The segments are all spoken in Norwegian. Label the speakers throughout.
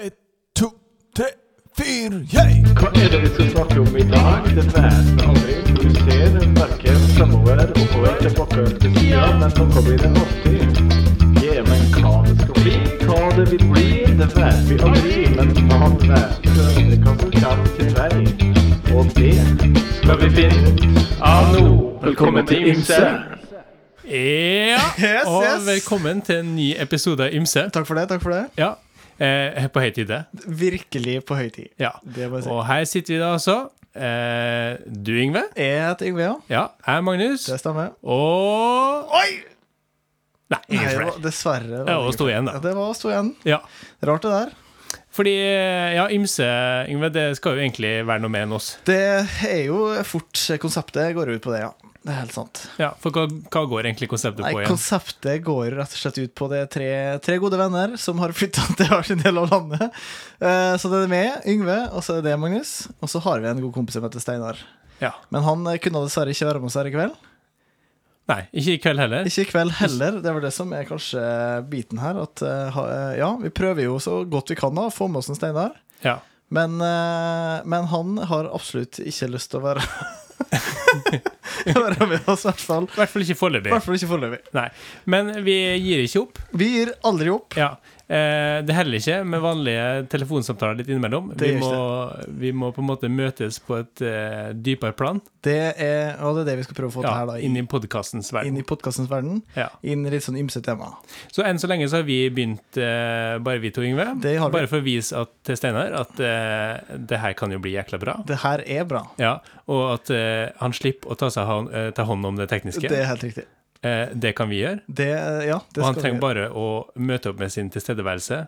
Speaker 1: Ett, to, tre, fire, yeah!
Speaker 2: Hva er det vi skal snakke om i dag? Det vet vi aldri. Du ser verken fremover, oppover, tilbake, til sida, men noe blir det alltid. Ja, men hva det skal bli, hva det vil bli, det vet vi aldri. Men man vet aldri hva som kommer til vei. Og det skal vi finne ut av nå. Velkommen til Imse.
Speaker 3: Ja,
Speaker 4: Yes,
Speaker 3: og
Speaker 4: yes.
Speaker 3: velkommen til en ny episode av Ymse.
Speaker 4: Takk for det. takk for det
Speaker 3: Ja, eh, på høy tide.
Speaker 4: Virkelig på høy tid.
Speaker 3: Ja.
Speaker 4: Det må jeg si.
Speaker 3: Og her sitter vi da altså. Eh, du, Yngve.
Speaker 4: Jeg heter Yngve, ja.
Speaker 3: Ja, jeg er Magnus.
Speaker 4: Det stemmer.
Speaker 3: Og
Speaker 4: Oi!
Speaker 3: Nei,
Speaker 4: Nei,
Speaker 3: ingen
Speaker 4: det var,
Speaker 3: flere.
Speaker 4: dessverre.
Speaker 3: Det
Speaker 4: var
Speaker 3: var
Speaker 4: ingen
Speaker 3: å stå
Speaker 4: flere.
Speaker 3: igjen, da.
Speaker 4: Ja, det var å stå igjen.
Speaker 3: Ja.
Speaker 4: Rart, det der.
Speaker 3: Fordi eh, ja, Ymse, Yngve, det skal jo egentlig være noe mer enn oss.
Speaker 4: Det er jo fort Konseptet går ut på det, ja. Det er helt sant.
Speaker 3: Ja, For hva, hva går egentlig konseptet
Speaker 4: Nei,
Speaker 3: på igjen?
Speaker 4: Konseptet går rett og slett ut på det er tre, tre gode venner som har flytta til hver sin del av landet. Eh, så det er meg, Yngve, og så er det Magnus. Og så har vi en god kompis som heter Steinar.
Speaker 3: Ja.
Speaker 4: Men han eh, kunne dessverre ikke være med oss her i kveld.
Speaker 3: Nei, ikke i kveld heller.
Speaker 4: Ikke i kveld heller. Det er vel det som er kanskje biten her. At eh, ha- eh, ja, vi prøver jo så godt vi kan da, å få med oss en Steinar.
Speaker 3: Ja.
Speaker 4: Men, eh, men han har absolutt ikke lyst til å være Være med oss, i hvert fall.
Speaker 3: I hvert fall ikke
Speaker 4: I
Speaker 3: foreløpig.
Speaker 4: hvert fall ikke foreløpig.
Speaker 3: Nei. Men vi gir ikke opp.
Speaker 4: Vi gir aldri opp.
Speaker 3: Ja. Eh, det heller ikke med vanlige telefonsamtaler litt innimellom. Vi
Speaker 4: Det gjør
Speaker 3: må, vi må på en måte møtes på et eh, dypere plan
Speaker 4: Det er, og det er det vi skal prøve å få til
Speaker 3: ja,
Speaker 4: her, da.
Speaker 3: inn
Speaker 4: Inn,
Speaker 3: i podkastens
Speaker 4: inn
Speaker 3: verden.
Speaker 4: i podkastens verden.
Speaker 3: Ja.
Speaker 4: Inn i litt sånn ymse tema.
Speaker 3: Så enn så lenge så har vi begynt, eh, bare vi to, Yngve.
Speaker 4: Det har vi.
Speaker 3: Bare for å vise at, til Steinar at eh, det her kan jo bli jækla bra.
Speaker 4: Det her er bra.
Speaker 3: Ja, Og at eh, han slipper å ta, seg hånd, eh, ta hånd om det tekniske.
Speaker 4: Det
Speaker 3: Det,
Speaker 4: er helt riktig.
Speaker 3: eh, det kan vi gjøre.
Speaker 4: Det, ja, det
Speaker 3: Og han
Speaker 4: skal vi
Speaker 3: trenger
Speaker 4: gjøre.
Speaker 3: bare å møte opp med sin tilstedeværelse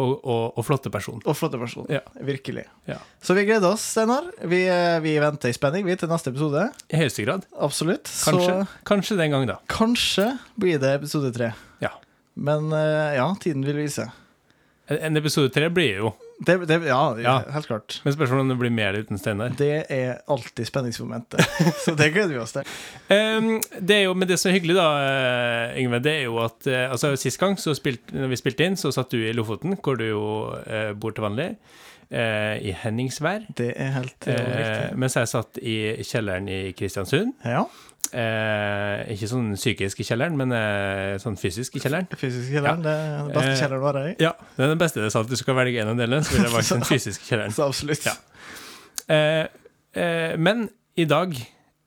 Speaker 3: og, og, og flotte person.
Speaker 4: Og flotte person.
Speaker 3: Ja.
Speaker 4: Virkelig.
Speaker 3: Ja.
Speaker 4: Så vi gleder oss, Steinar. Vi, eh, vi venter i spenning vi til neste episode.
Speaker 3: I høyeste grad.
Speaker 4: Absolutt.
Speaker 3: Kanskje,
Speaker 4: Så
Speaker 3: kanskje den gang, da.
Speaker 4: kanskje blir det episode tre.
Speaker 3: Ja.
Speaker 4: Men eh, ja, tiden vil vise.
Speaker 3: En- En episode tre blir jo,
Speaker 4: Det, det, ja, ja,
Speaker 3: Ja.
Speaker 4: helt klart.
Speaker 3: men spørsmålet er om det blir mer uten Steinar.
Speaker 4: Det er alltid spenningsmomentet. Så det gleder vi oss til.
Speaker 3: Ehm, det er jo, men det som er hyggelig, da, eh, Yngve, det er jo at eh, altså, sist gang så spilt, når vi spilte inn, så satt du i Lofoten, hvor du jo eh, bor til vanlig, eh, i Henningsvær.
Speaker 4: Det er helt eh,
Speaker 3: Eh,
Speaker 4: riktig.
Speaker 3: mens jeg satt i kjelleren i Kristiansund.
Speaker 4: Ja.
Speaker 3: Eh, ikke sånn psykisk i kjelleren, men eh, sånn fysisk i kjelleren.
Speaker 4: Fysisk kjelleren. Det er den beste
Speaker 3: Eh,
Speaker 4: kjelleren å være i.
Speaker 3: Ja, Det er det beste det er sant. Du skal velge en av delene, så ville jeg valgt den fysiske kjelleren.
Speaker 4: Så absolutt.
Speaker 3: Ja. Eh, eh, men i dag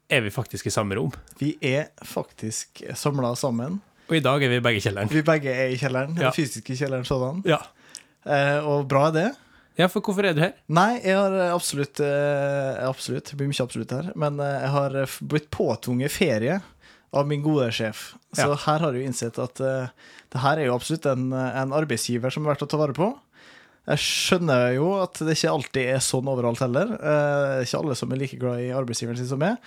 Speaker 3: er vi faktisk i samme rom.
Speaker 4: Vi er faktisk samla sammen.
Speaker 3: Og i dag er vi begge i kjelleren.
Speaker 4: Vi begge er i kjelleren.
Speaker 3: Ja.
Speaker 4: Den fysiske kjelleren sådan.
Speaker 3: Ja.
Speaker 4: Eh, og bra er det.
Speaker 3: ja, for hvorfor er du her?
Speaker 4: Nei, jeg har eh, absolutt, eh, absolutt Det blir mye absolutt her. Men eh, jeg har eh, f- blitt påtvunget ferie av min gode sjef. Så
Speaker 3: Ja.
Speaker 4: her har jeg jo innsett at eh, det her er jo absolutt en, eh, en arbeidsgiver som er verdt å ta vare på. Jeg skjønner jo at det ikke alltid er sånn overalt heller. Eh, Det er ikke alle som er like glad i arbeidsgiveren sin som meg.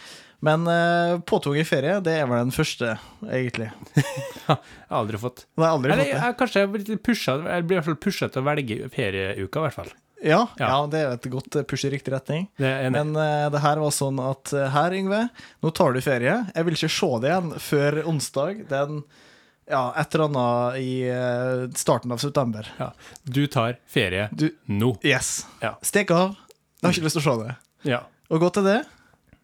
Speaker 4: Men eh, påtvunget ferie, det er vel den første, egentlig.
Speaker 3: Jeg har aldri fått.
Speaker 4: Men jeg har aldri
Speaker 3: Eller
Speaker 4: fått det.
Speaker 3: jeg, kanskje jeg blir litt pusha Jeg blir i hvert fall pusha til å velge ferieuka, i hvert fall.
Speaker 4: Ja,
Speaker 3: Ja.
Speaker 4: ja. det er jo et godt eh, push i riktig retning.
Speaker 3: Det er en,
Speaker 4: Men eh, det her var sånn at eh, her, Yngve, nå tar du ferie. Jeg vil ikke se deg igjen før onsdag. Den ja, et eller annet i eh, starten av september.
Speaker 3: ja. Du tar ferie
Speaker 4: Du,
Speaker 3: nå.
Speaker 4: yes.
Speaker 3: Ja.
Speaker 4: Stek av. Jeg har ikke lyst til å se det.
Speaker 3: Ja.
Speaker 4: Og godt er det.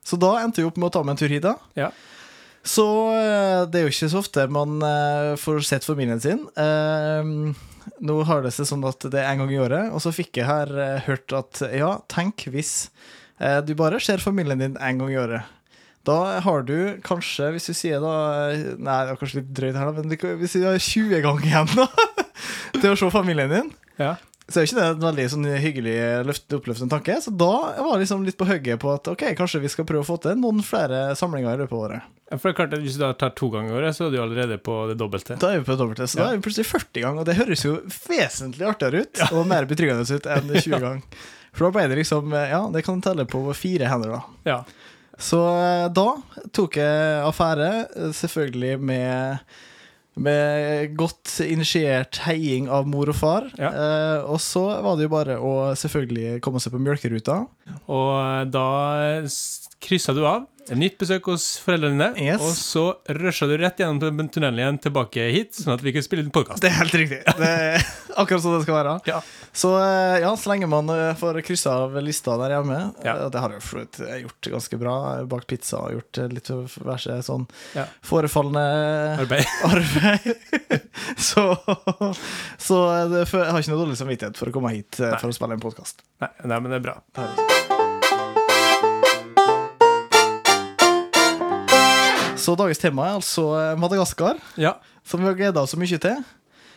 Speaker 4: Så da endte vi opp med å ta med en tur hit, da.
Speaker 3: Ja.
Speaker 4: Så eh, det er jo ikke så ofte man eh, får sett familien sin. Eh, Nå har det seg sånn at det er en gang i året, og så fikk jeg her eh, hørt at ja, tenk hvis eh, du bare ser familien din en gang i året. Da har du kanskje, hvis du sier da eh, Nei, det er kanskje litt drøyt her, da, men du- hvis du har 20 ganger igjen da til å se familien din,
Speaker 3: Ja.
Speaker 4: så er jo ikke det en veldig sånn hyggelig løft, oppløftende tanke. Så da var jeg liksom litt på hugget på at ok, kanskje vi skal prøve å få til noen flere samlinger i løpet av året.
Speaker 3: For det er klart at Hvis du da tar to ganger i året, så er du allerede på det dobbelte.
Speaker 4: Da er vi på dobbelttest. Så
Speaker 3: Ja.
Speaker 4: Da er vi plutselig 40 ganger, og det høres jo vesentlig artigere ut og mer betryggende ut enn 20 ganger. For da ble det liksom Ja, det kan telle på fire hender, da.
Speaker 3: Ja.
Speaker 4: Så eh, da tok jeg affære, eh, selvfølgelig med med godt initiert heiing av mor og far.
Speaker 3: Ja.
Speaker 4: Eh, og så var det jo bare å selvfølgelig komme seg på mjølkeruta.
Speaker 3: Og da eh, s- kryssa du av Et nytt besøk hos foreldrene dine.
Speaker 4: Yes.
Speaker 3: Og så rusha du rett gjennom tun- tunnelen igjen tilbake hit, sånn at vi kunne spille inn podkast.
Speaker 4: Det er helt riktig. Det er akkurat sånn det skal være.
Speaker 3: Ja.
Speaker 4: Så eh, ja, så lenge man eh, får kryssa av lista der hjemme
Speaker 3: Ja.
Speaker 4: eh, Det har jeg jo for så vidt gjort ganske bra. Jeg har Bakt pizza og gjort eh, litt diverse sånn
Speaker 3: Ja.
Speaker 4: forefallende
Speaker 3: Arbeid.
Speaker 4: arbeid. så så eh, det, jeg har ikke noe dårlig samvittighet for å komme hit eh, for å spille en podkast.
Speaker 3: Nei, nei, men det er bra.
Speaker 4: Så dagens tema er altså eh, Madagaskar,
Speaker 3: Ja.
Speaker 4: som vi har gleda oss så mye til.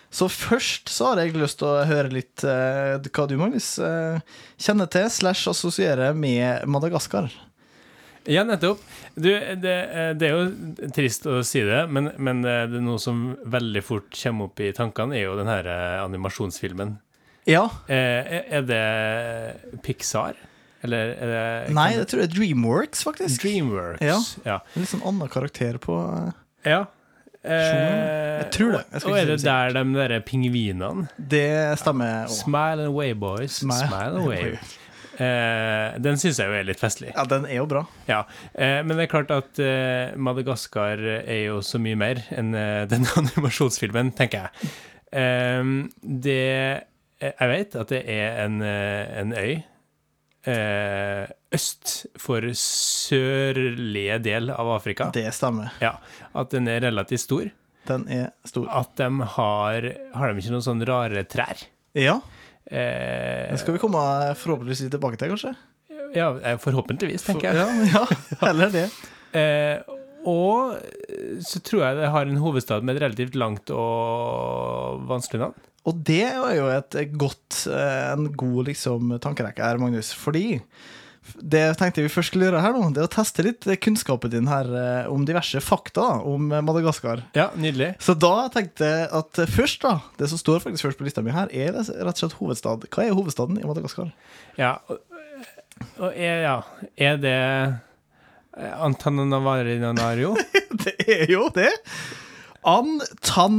Speaker 4: Så først så har jeg egentlig lyst til å høre litt eh, hva du, Magnus, eh, kjenner til slash assosierer med Madagaskar.
Speaker 3: Ja, nettopp. Du, det, eh, det er jo trist å si det, men, men eh, det er noe som veldig fort kommer opp i tankene, er jo den her eh, animasjonsfilmen.
Speaker 4: Ja.
Speaker 3: Eh, Er det Pixar? Eller er det
Speaker 4: Nei, jeg tror det er Dreamworks, faktisk.
Speaker 3: Dreamworks.
Speaker 4: Ja.
Speaker 3: ja.
Speaker 4: En litt sånn annen karakter på eh,
Speaker 3: Ja. Eh,
Speaker 4: Skjønner. Jeg tror det. Jeg skal
Speaker 3: og
Speaker 4: ikke
Speaker 3: er det
Speaker 4: si det
Speaker 3: der de der pingvinene
Speaker 4: Det stemmer òg.
Speaker 3: Smile and wave, boys. Smile,
Speaker 4: Smile
Speaker 3: and
Speaker 4: and
Speaker 3: wave. Eh, den syns jeg jo er litt festlig.
Speaker 4: Ja, den er jo bra.
Speaker 3: Ja. Eh, men det er klart at eh, Madagaskar er jo så mye mer enn eh, den animasjonsfilmen, tenker jeg. Ehm, det eh, Jeg vet at det er en, eh, en øy eh, øst for sørlige del av Afrika.
Speaker 4: Det stemmer.
Speaker 3: Ja, at den er relativt stor.
Speaker 4: Den er stor.
Speaker 3: At de har Har de ikke noen sånne rare trær?
Speaker 4: Ja,
Speaker 3: Eh,
Speaker 4: den skal vi komme eh, forhåpentligvis litt tilbake til, kanskje.
Speaker 3: ja, eh, forhåpentligvis, tenker jeg.
Speaker 4: Ja, ja, heller det.
Speaker 3: Eh, og eh, så tror jeg det har en hovedstad med et relativt langt og vanskelig navn.
Speaker 4: Og det er jo et godt, eh, en god liksom, tankerekke her, Magnus. Fordi det jeg tenkte vi først skulle gjøre her nå, det er å teste litt kunnskapen din her eh, om diverse fakta da, om Madagaskar.
Speaker 3: Ja, nydelig.
Speaker 4: Så da tenkte jeg at først, da Det som står faktisk først på lista mi her, er rett og slett hovedstad. Hva er hovedstaden i Madagaskar?
Speaker 3: Ja, og, og er, ja, er det eh, Antananarivo?
Speaker 4: Det er jo det!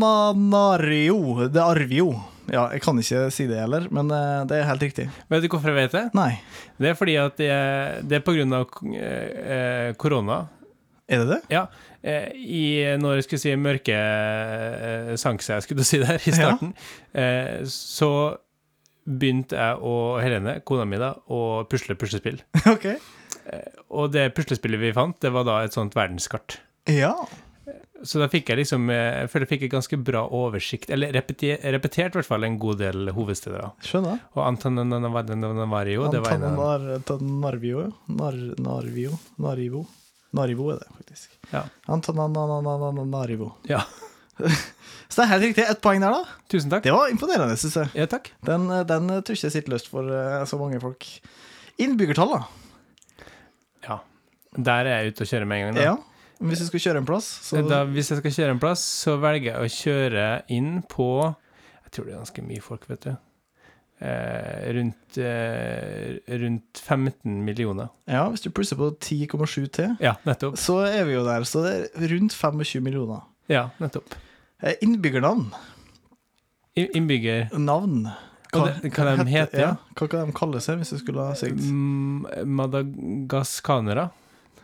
Speaker 4: Antananario de Arvio. Ja, jeg kan ikke si det heller, men eh, det er helt riktig.
Speaker 3: Vet du hvorfor jeg vet det?
Speaker 4: Nei,
Speaker 3: Det er fordi at det er, det er på grunn av eh, eh, korona.
Speaker 4: er det det?
Speaker 3: Ja, eh, i, når jeg skulle si mørke eh, sank seg, skulle du si det her i
Speaker 4: Ja.
Speaker 3: starten, eh, så begynte jeg og Helene, kona mi, da, å pusle puslespill.
Speaker 4: Ok.
Speaker 3: Og det puslespillet vi fant, det var da et sånt verdenskart.
Speaker 4: Ja.
Speaker 3: Så da fikk jeg liksom, eh, jeg føler jeg fikk en ganske bra oversikt, eller repetert, repetert i hvert fall en god del hovedsteder. da.
Speaker 4: Skjønner.
Speaker 3: Og Antananarivo, det var en av
Speaker 4: Antanar, Narvio, ja. Nar, Narvio. Narivo. Narivo er det, faktisk.
Speaker 3: Ja.
Speaker 4: Antanananananarivo.
Speaker 3: ja.
Speaker 4: Så det er helt riktig. Ett poeng der, da.
Speaker 3: Tusen takk.
Speaker 4: Det var imponerende, syns jeg.
Speaker 3: Ja, takk.
Speaker 4: Den, eh, den tror ikke jeg sitter løst for eh, så mange folk. Innbyggertall, da.
Speaker 3: Ja. Der er jeg ute og kjører med en gang. da.
Speaker 4: Ja. Hvis du skal kjøre en plass, så
Speaker 3: da, hvis jeg skal kjøre en plass, så velger jeg å kjøre inn på Jeg tror det er ganske mye folk, vet du. Eh, rundt, eh, rundt 15 millioner.
Speaker 4: Ja, hvis du plusser på 10,7 til,
Speaker 3: Ja, nettopp.
Speaker 4: så er vi jo der. Så det er rundt 25 millioner.
Speaker 3: Ja, nettopp.
Speaker 4: Eh, Innbyggernavn.
Speaker 3: I- Innbygger
Speaker 4: Navn.
Speaker 3: Og det- hva de heter, ja.
Speaker 4: Hva kan de kalle seg, hvis du skulle ha sagt
Speaker 3: mm, Madagaskanere.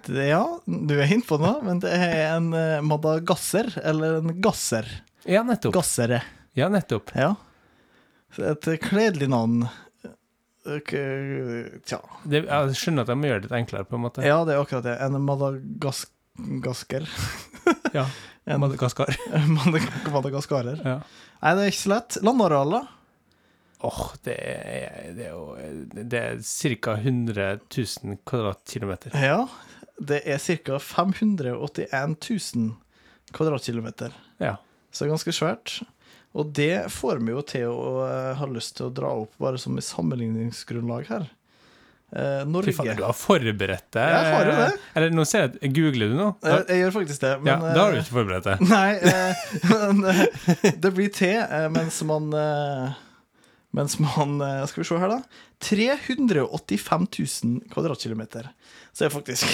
Speaker 4: det? Ja, du er inne på noe, men det er en eh, madagasser, eller en gasser.
Speaker 3: Ja, nettopp.
Speaker 4: Gassere.
Speaker 3: Ja, nettopp.
Speaker 4: Ja. Så Et kledelig navn. Eh, k- Tja.
Speaker 3: Det, jeg skjønner at jeg må gjøre det litt enklere, på en måte.
Speaker 4: Ja, det er akkurat det. En madagasker.
Speaker 3: Ja,
Speaker 4: En
Speaker 3: Madagaskar.
Speaker 4: madag- madagaskarer.
Speaker 3: Ja.
Speaker 4: Nei, det er ikke så lett. Landarealet.
Speaker 3: Åh, det, er- det er jo Det er ca. 100 000 kvadratkilometer.
Speaker 4: Ja. Det er ca. 581 000 kvadratkilometer.
Speaker 3: Ja.
Speaker 4: Så det er ganske svært. Og det får vi jo til å eh, ha lyst til å dra opp bare som et sammenligningsgrunnlag her. Eh, Norge.
Speaker 3: Fy faen, du har forberedt deg.
Speaker 4: Jeg har jo det.
Speaker 3: Eller nå ser jeg at Googler du nå? Da,
Speaker 4: Eh, Jeg gjør faktisk det, men
Speaker 3: ja, da har
Speaker 4: eh,
Speaker 3: du ikke forberedt deg.
Speaker 4: Nei, eh, men eh, det blir te eh, mens man eh, Mens man eh, Skal vi se her, da. 385 000 kvadratkilometer. Så det er faktisk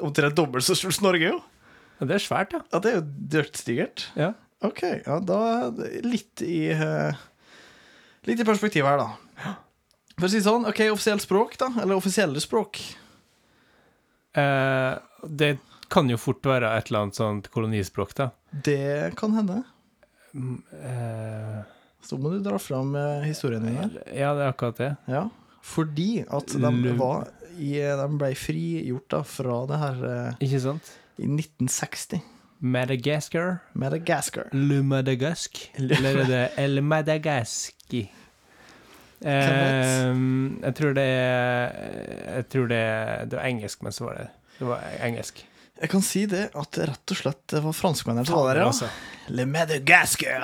Speaker 4: omtrent dobbelt så stort som Norge, jo.
Speaker 3: Ja, det er svært, ja.
Speaker 4: Ja, det er jo dørtstigert.
Speaker 3: ja.
Speaker 4: Ok, ja, da litt i eh, Litt i perspektiv her, da. For å si det sånn, ok, offisielt språk, da? Eller offisielle språk?
Speaker 3: Eh, det kan jo fort være et eller annet sånt kolonispråk, da.
Speaker 4: Det kan hende.
Speaker 3: Mm, eh,
Speaker 4: Så må du dra fram eh, historien din her.
Speaker 3: ja, det er akkurat det.
Speaker 4: Ja. Fordi at de,
Speaker 3: Løv.
Speaker 4: var i, de ble frigjort da, fra det her eh,
Speaker 3: Ikke sant?
Speaker 4: i 1960.
Speaker 3: Madagascar.
Speaker 4: Madagascar.
Speaker 3: Le Madagask. Eller er det El Madagaski? Eh, jeg tror det Jeg tror det Det var engelsk, men så var det Det var engelsk.
Speaker 4: Jeg kan si det at det rett og slett det var franskmennene som var der, ja.
Speaker 3: Altså,
Speaker 4: Le Madagascar.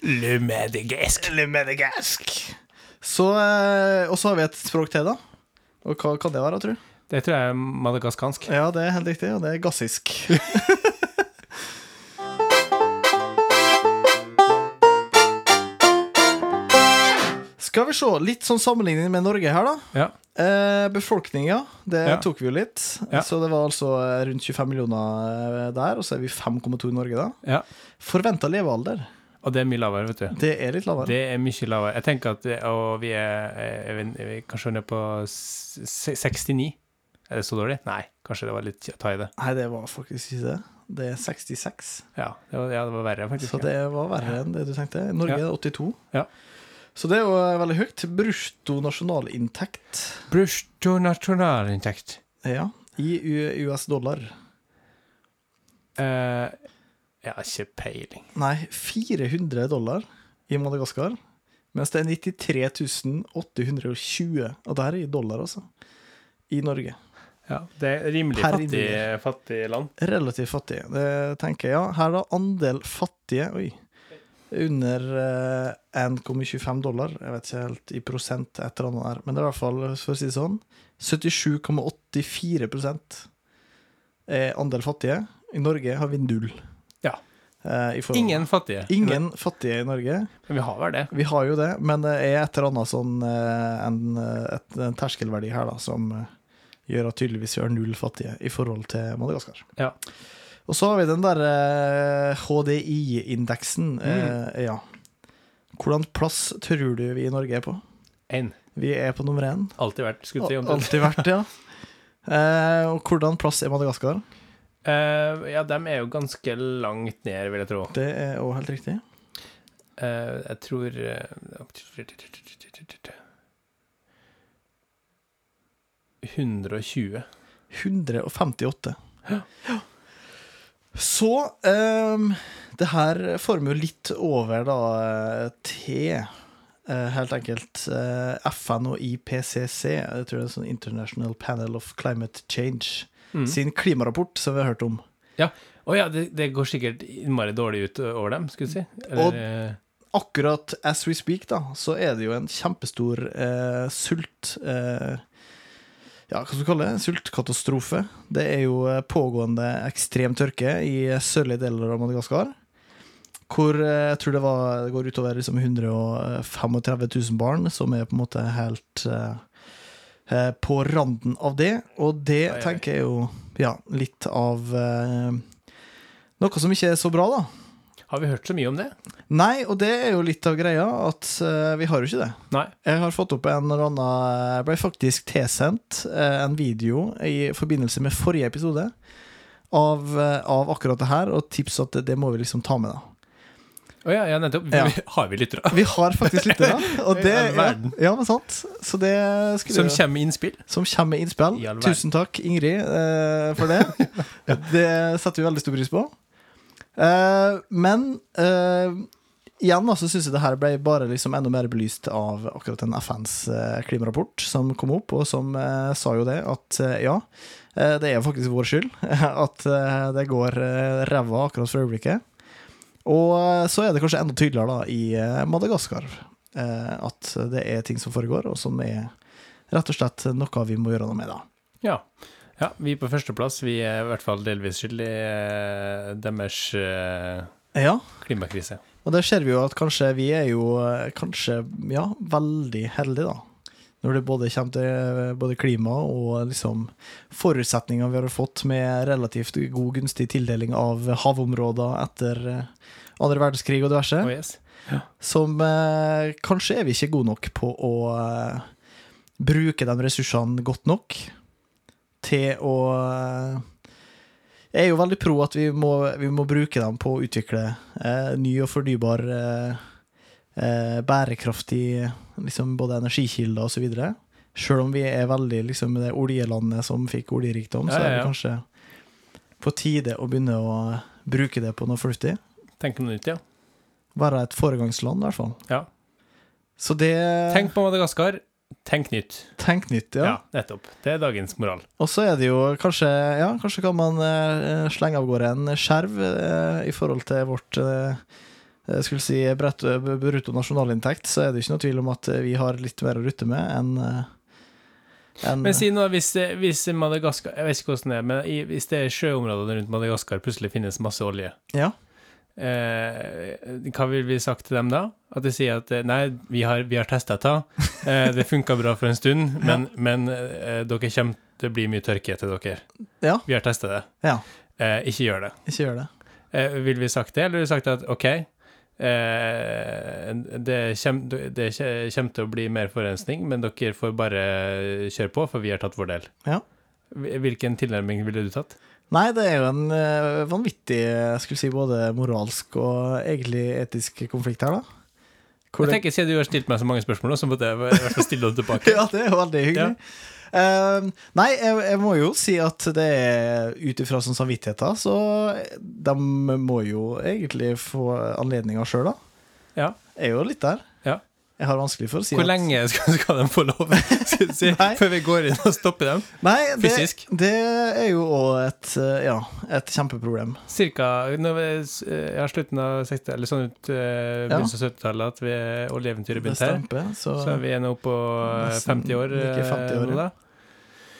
Speaker 3: Le Madagask.
Speaker 4: Le Madagask. Så, eh, og så har vi et språk til, da. Og hva kan det være, tror du?
Speaker 3: Det tror jeg er madagaskansk.
Speaker 4: Ja, det er helt riktig, og det er gassisk. Skal vi se, litt sånn sammenligning med Norge her, da.
Speaker 3: Ja.
Speaker 4: Eh, Befolkninga, det
Speaker 3: Ja.
Speaker 4: tok vi jo litt.
Speaker 3: Ja.
Speaker 4: Så det var altså eh, rundt 25 millioner eh, der, og så er vi 5,2 i Norge, da.
Speaker 3: ja.
Speaker 4: Forventa levealder,
Speaker 3: Og det er mye lavere, vet du.
Speaker 4: det er litt lavere.
Speaker 3: Det er mye lavere. Jeg tenker at det- Og vi er, er, vi, er vi kanskje nede på s- se- 69. Er det så dårlig? Nei, kanskje det var litt å ta i det.
Speaker 4: Nei, det var faktisk ikke det. Det er 66.
Speaker 3: Ja, det var, ja, det var verre, faktisk.
Speaker 4: Så det var verre enn det du tenkte. Norge
Speaker 3: Ja.
Speaker 4: er 82.
Speaker 3: Ja.
Speaker 4: Så det er jo eh, veldig høyt. Brutto nasjonalinntekt
Speaker 3: Brutto nasjonalinntekt.
Speaker 4: ja, i U- US dollar.
Speaker 3: Eh, jeg har ikke peiling.
Speaker 4: Nei, 400 dollar i Madagaskar. Mens det er 93 820, og det her er i dollar, altså, i Norge.
Speaker 3: Ja, det er rimelig
Speaker 4: Per
Speaker 3: fattig,
Speaker 4: innbygger.
Speaker 3: fattig land.
Speaker 4: Relativt fattig. Det tenker jeg, ja. Her da, andel fattige Oi. Under eh, 1,25 dollar. Jeg vet ikke helt i prosent, et eller annet der. Men det er i hvert fall, for å si det sånn, 77,84 er andel fattige. I Norge har vi null.
Speaker 3: Ja.
Speaker 4: Eh, i forhold-
Speaker 3: Ingen fattige.
Speaker 4: Ingen fattige i Norge.
Speaker 3: Men vi har vel det.
Speaker 4: Vi har jo det, men det er et eller annet sånn eh, en, eh, et, en terskelverdi her da, som eh, gjør at tydeligvis vi har null fattige i forhold til Madagaskar.
Speaker 3: Ja.
Speaker 4: Og så har vi den der eh, HDI-indeksen.
Speaker 3: Mm.
Speaker 4: eh, ja. Hvordan plass tror du vi i Norge er på?
Speaker 3: Én.
Speaker 4: Vi er på nummer én.
Speaker 3: Alltid vært. Skulle jeg si omtrent.
Speaker 4: Alltid vært, ja. Eh, og hvordan plass er Madagaskar?
Speaker 3: Eh, ja, dem er jo ganske langt ned, vil jeg tro.
Speaker 4: Det er òg helt riktig.
Speaker 3: Eh, jeg tror eh, 120.
Speaker 4: 158. Så ehm, det her former jo litt over da eh, til eh, helt enkelt eh, FN og IPCC, jeg tror det er en sånn International Panel of Climate Change,
Speaker 3: Mm.
Speaker 4: sin klimarapport som vi har hørt om.
Speaker 3: Ja. Å ja, det, det går sikkert innmari dårlig ut over dem, skulle jeg si.
Speaker 4: Og-
Speaker 3: eh,
Speaker 4: Akkurat as we speak, da, så er det jo en kjempestor eh, sult eh, Ja, hva skal du kalle det? Sultkatastrofe. Det er jo eh, pågående ekstrem tørke i sørlige deler av Madagaskar. Hvor eh, jeg tror det, var, det går utover liksom 135 000 barn, som er på en måte helt eh, eh, på randen av det. Og det
Speaker 3: Oi, oi.
Speaker 4: tenker jeg jo ja, litt av eh, noe som ikke er så bra, da.
Speaker 3: har vi hørt så mye om det?
Speaker 4: Nei, og det er jo litt av greia at eh, vi har jo ikke det.
Speaker 3: Nei.
Speaker 4: Jeg har fått opp en eller annen Jeg ble faktisk tilsendt eh, en video i forbindelse med forrige episode av, eh, av akkurat det her, og tips at det, det må vi liksom ta med, da.
Speaker 3: Å ja, ja, nettopp.
Speaker 4: Ja.
Speaker 3: Har vi lyttere?
Speaker 4: Vi har faktisk lyttere, og det
Speaker 3: I all
Speaker 4: ja,
Speaker 3: verden.
Speaker 4: ja, men sant. Så det skulle
Speaker 3: Som kommer med innspill?
Speaker 4: som kommer med innspill.
Speaker 3: I all verden.
Speaker 4: Tusen takk, Ingrid, eh, for det. Det setter vi veldig stor pris på. Eh, men eh, igjen da, så syns jeg det her ble bare liksom enda mer belyst av akkurat den FNs eh, klimarapport som kom opp, og som eh, sa jo det at eh, ja, eh, det er faktisk vår skyld at eh, det går eh, ræva akkurat for øyeblikket. Og eh, så er det kanskje enda tydeligere da i eh, Madagaskar eh, at det er ting som foregår, og som er rett og slett noe vi må gjøre noe med, da.
Speaker 3: Ja. ja. Vi på førsteplass. Vi er i hvert fall delvis skyld i eh, deres eh,
Speaker 4: Ja,
Speaker 3: klimakrise.
Speaker 4: og der ser vi jo at kanskje vi er jo eh, kanskje, ja, veldig heldige, da. Når det både kommer til eh, både klima og liksom forutsetninger vi har fått med relativt god, gunstig tildeling av havområder etter eh, andre verdenskrig og
Speaker 3: Å,
Speaker 4: diverse,
Speaker 3: Oh, yes.
Speaker 4: som eh, kanskje er vi ikke gode nok på å eh, bruke de ressursene godt nok til å eh, Jeg er jo veldig pro at vi må, vi må bruke dem på å utvikle eh, ny og fornybar eh, eh, bærekraftig liksom både energikilder og så videre. Sjøl om vi er veldig liksom det oljelandet som fikk oljerikdom, så
Speaker 3: Ja, ja,
Speaker 4: er det
Speaker 3: ja.
Speaker 4: kanskje på tide å begynne å bruke det på noe fornuftig.
Speaker 3: Tenk noe nytt, ja.
Speaker 4: Være et foregangsland, i hvert fall.
Speaker 3: Ja.
Speaker 4: Så det
Speaker 3: Tenk på Madagaskar. Tenk nytt.
Speaker 4: tenk nytt,
Speaker 3: Eh. Ja.
Speaker 4: ja.
Speaker 3: nettopp. Det er dagens moral.
Speaker 4: Og så er det jo kanskje Ja, kanskje kan man eh, slenge av gårde en skjerv eh, i forhold til vårt eh, jeg skulle si brett- brutto nasjonalinntekt, så er det jo ikke noe tvil om at eh, vi har litt mer å rutte med enn eh, enn-
Speaker 3: Men si nå, hvis, eh, hvis Madagaskar Jeg vet ikke hvordan det er, men i- hvis det er sjøområdene rundt Madagaskar plutselig finnes masse olje,
Speaker 4: Ja.
Speaker 3: eh, hva vil vi sagt til dem da? At de sier at eh, nei, vi har, vi har testa dette, eh, det funka bra for en stund, men, men eh, dere kommer til å bli mye tørke til dere.
Speaker 4: Ja.
Speaker 3: Vi har testa det.
Speaker 4: Ja.
Speaker 3: Eh, ikke gjør det.
Speaker 4: Ikke gjør det.
Speaker 3: Eh, vil vi sagt det, eller vil vi sagt at OK, eh, det kommer det kjem til å bli mer forurensning, men dere får bare kjøre på, for vi har tatt vår del?
Speaker 4: Ja.
Speaker 3: Hvil- Hvilken tilnærming ville du tatt?
Speaker 4: Nei, det er jo en eh, vanvittig, jeg skulle si, både moralsk og egentlig etisk konflikt her, da. Hvor
Speaker 3: Jeg
Speaker 4: det-
Speaker 3: tenker Siden du har stilt meg så mange spørsmål, nå, så måtte jeg i hvert fall stille dem tilbake.
Speaker 4: Ja, det er jo veldig hyggelig. Eh, nei, jeg, jeg må jo si at det er ut ifra sånn samvittigheter, så de må jo egentlig få anledninga sjøl, da.
Speaker 3: Ja.
Speaker 4: Jeg er jo litt der.
Speaker 3: Ja.
Speaker 4: Jeg har vanskelig for å si
Speaker 3: Hvor
Speaker 4: at-
Speaker 3: lenge skal, skal de få lov skal du si,
Speaker 4: Nei.
Speaker 3: før vi går inn og stopper dem?
Speaker 4: Nei, det,
Speaker 3: Fysisk.
Speaker 4: det er jo òg et, eh, ja, et kjempeproblem.
Speaker 3: Cirka når vi, eh, ja, slutten av 60 eller sånn ut eh,
Speaker 4: Ja.
Speaker 3: begynnelsen av 70-tallet, at vi oljeeventyret
Speaker 4: Det
Speaker 3: begynte her.
Speaker 4: stamper, så,
Speaker 3: Så er vi nå på eh,
Speaker 4: Nesten
Speaker 3: 50 år.
Speaker 4: like 50 år,
Speaker 3: eh, nå
Speaker 4: ja.
Speaker 3: da.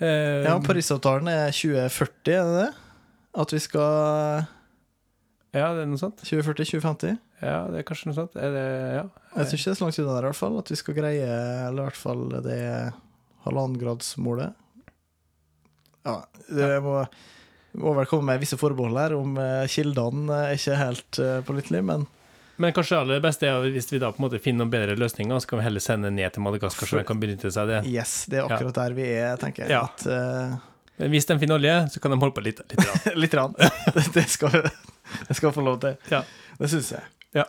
Speaker 3: Eh,
Speaker 4: ja, Parisavtalen er 2040, er det det? At vi skal
Speaker 3: ja, det er noe sånt.
Speaker 4: 2040-2050?
Speaker 3: Ja, det er kanskje noe sånt. Er det, ja.
Speaker 4: Jeg tror ikke det er så langt unna der, i hvert fall. At vi skal greie eller i hvert fall det halvannengradsmålet. Ja, det må, må vel komme med visse forbehold her, om eh, kildene er ikke helt eh, pålitelige, men
Speaker 3: Men kanskje det aller beste er hvis vi da på en måte finner noen bedre løsninger, så kan vi heller sende ned til Madagaskar, så de kan benytte seg av det.
Speaker 4: yes, det er akkurat der vi er, tenker jeg.
Speaker 3: Ja.
Speaker 4: At, eh,
Speaker 3: Men hvis de finner olje, så kan de holde på litt. litt da.
Speaker 4: litt. Rann. Det, det, skal, det skal få lov til.
Speaker 3: Ja.
Speaker 4: Det syns jeg.
Speaker 3: Ja.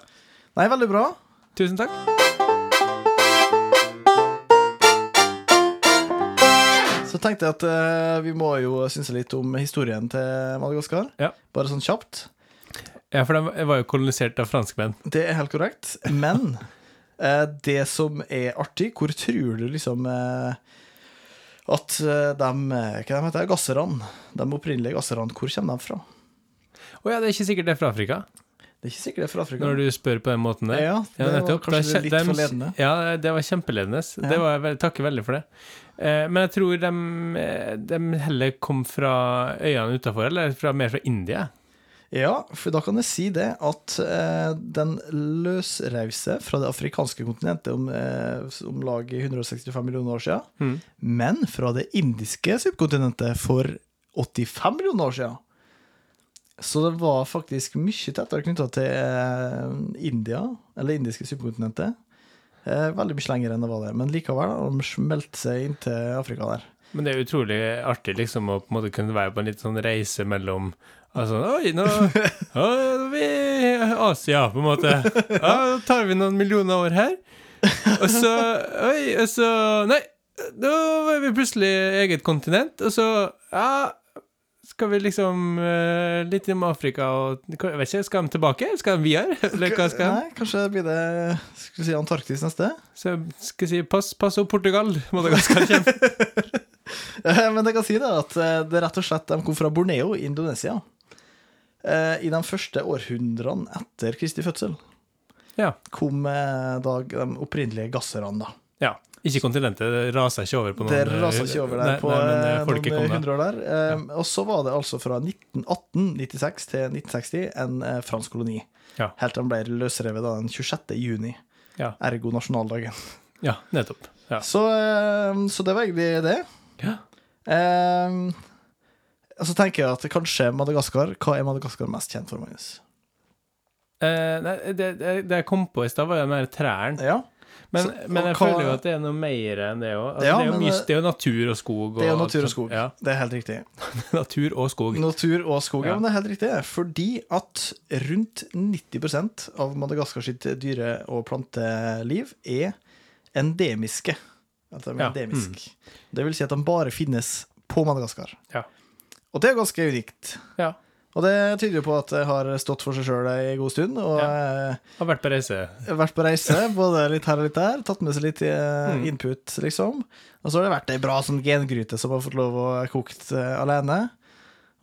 Speaker 4: Nei, veldig bra.
Speaker 3: Tusen takk.
Speaker 4: Så tenkte jeg at eh, vi må jo synse litt om historien til Madagaskar.
Speaker 3: Ja.
Speaker 4: Bare sånn kjapt.
Speaker 3: Ja, for de var jo kolonisert av franskmenn.
Speaker 4: Det er helt korrekt. Men eh, det som er artig, hvor tror du liksom eh, at eh, de eh, Hva de heter de? Gasserne? De opprinnelige gasserne, hvor kommer de fra?
Speaker 3: Å ja, det er ikke sikkert det er fra Afrika,
Speaker 4: Det er ikke sikkert det er fra Afrika.
Speaker 3: når du spør på den måten der.
Speaker 4: ja,
Speaker 3: Ja,
Speaker 4: det var
Speaker 3: nettopp. Da
Speaker 4: kanskje
Speaker 3: kje-
Speaker 4: litt
Speaker 3: dem-
Speaker 4: for ledende.
Speaker 3: Ja, det var kjempeledende. Det var jeg vel- takker veldig for det. Eh, men jeg tror de, eh, de heller kom fra øyene utafor, eller fra, mer fra India.
Speaker 4: Ja, for da kan jeg si det at eh, den løsreise fra det afrikanske kontinentet om, eh, om lag 165 millioner år siden,
Speaker 3: Mhm.
Speaker 4: men fra det indiske subkontinentet for 85 millioner år siden. Så det var faktisk mye tettere knytta til eh, India, eller indiske subkontinentet. Eh, veldig mye lenger enn det var det, men likevel har de smelt seg inn til Afrika der.
Speaker 3: Men det er utrolig artig liksom, å på en måte kunne være på en litt sånn reise mellom Altså, Oi, nå å, vi er i Asia, på en måte. Ja, nå tar vi noen millioner år her. Og så Oi, og så Nei, da var vi plutselig eget kontinent. Og så Ja, skal vi liksom eh, litt innom Afrika og Jeg vet ikke, skal de tilbake? eller Skal de videre? Eller hva skal de?
Speaker 4: Nei, kanskje blir det skulle si Antarktis neste?
Speaker 3: Så skal jeg si pass, pass opp Portugal. Madagaskar kjempe.
Speaker 4: Eh, Men jeg kan si det at eh, det er rett og slett de kom fra Borneo i Indonesia. Eh, I de første århundrene etter Kristi fødsel
Speaker 3: Ja.
Speaker 4: kom eh, da de opprinnelige gasserne. da.
Speaker 3: ja. Ikke kontinentet. Det rasa ikke over på noen
Speaker 4: Det rasa ikke over der
Speaker 3: nei,
Speaker 4: på
Speaker 3: nei, men, eh,
Speaker 4: eh,
Speaker 3: folket
Speaker 4: noen
Speaker 3: kom da.
Speaker 4: hundre år der. Eh, Og så var det altså fra 1918-96 til 1960 en eh, fransk koloni.
Speaker 3: Ja.
Speaker 4: Helt til den ble løsrevet da den 26. juni.
Speaker 3: Ja.
Speaker 4: Ergo nasjonaldagen.
Speaker 3: Ja, nettopp. Ja.
Speaker 4: Så, eh, så det var egentlig det.
Speaker 3: Ja.
Speaker 4: Ehm, og så tenker jeg at kanskje Madagaskar Hva er Madagaskar mest kjent for, Magnus?
Speaker 3: Eh, nei, det, det, det jeg kom på i stad, var jo den der trærne.
Speaker 4: Ja,
Speaker 3: Men,
Speaker 4: Så-
Speaker 3: men
Speaker 4: og
Speaker 3: jeg
Speaker 4: hva-
Speaker 3: føler jo at det er noe mer enn det òg. Altså,
Speaker 4: Ja,
Speaker 3: det, er jo
Speaker 4: men
Speaker 3: mye-
Speaker 4: det-
Speaker 3: det er jo natur og skog. Og
Speaker 4: Det er jo
Speaker 3: alt
Speaker 4: natur og
Speaker 3: sånt.
Speaker 4: skog.
Speaker 3: Ja,
Speaker 4: Det er helt riktig.
Speaker 3: natur og skog.
Speaker 4: Natur og skog, ja.
Speaker 3: Ja.
Speaker 4: men det er helt riktig. Fordi at rundt 90 av Madagaskar sitt dyre- og planteliv er endemiske. At de er
Speaker 3: Ja, Mm.
Speaker 4: endemisk. Det vil si at de bare finnes på Madagaskar.
Speaker 3: Ja.
Speaker 4: Og det er ganske unikt.
Speaker 3: Ja.
Speaker 4: Og det tyder jo på at det har stått for seg sjøl ei god stund. Og eh,
Speaker 3: Har vært på reise.
Speaker 4: vært på reise, både litt her og litt der. Tatt med seg litt eh,
Speaker 3: Mm.
Speaker 4: input, liksom. Og så har det vært ei bra sånn gengryte som har fått lov å kokt eh, alene.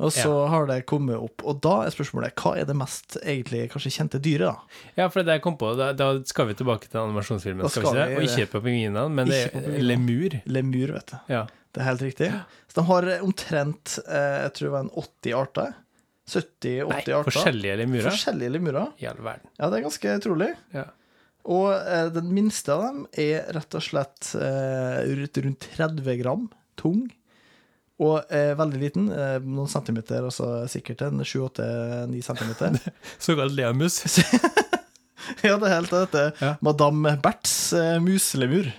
Speaker 4: Og så har det kommet opp. Og da er spørsmålet hva er det mest egentlig kanskje kjente dyret, da?
Speaker 3: Ja, for det jeg kom på, da, da skal vi tilbake til animasjonsfilmen,
Speaker 4: Da
Speaker 3: skal vi ikke
Speaker 4: skal
Speaker 3: det?
Speaker 4: vi
Speaker 3: Og ikke på pingvinene, men det
Speaker 4: Ikke på
Speaker 3: er
Speaker 4: pingvinene.
Speaker 3: lemur.
Speaker 4: Lemur, vet du.
Speaker 3: Ja.
Speaker 4: Det er helt riktig. Så de har omtrent eh, jeg tror det var en 80 arter.
Speaker 3: Nei,
Speaker 4: 70-80 arter.
Speaker 3: forskjellige lemurer.
Speaker 4: Forskjellige lemurer.
Speaker 3: I all verden.
Speaker 4: Ja, det er ganske utrolig.
Speaker 3: Ja.
Speaker 4: Og eh, den minste av dem er rett og slett eh, rundt rundt 30 gram tung. Og eh, veldig liten, eh, noen centimeter, altså sikkert en 7-8-9 centimeter.
Speaker 3: Såkalt leamus.
Speaker 4: ja, det er helt dette.
Speaker 3: Ja.
Speaker 4: Madame Berts eh, muslemur.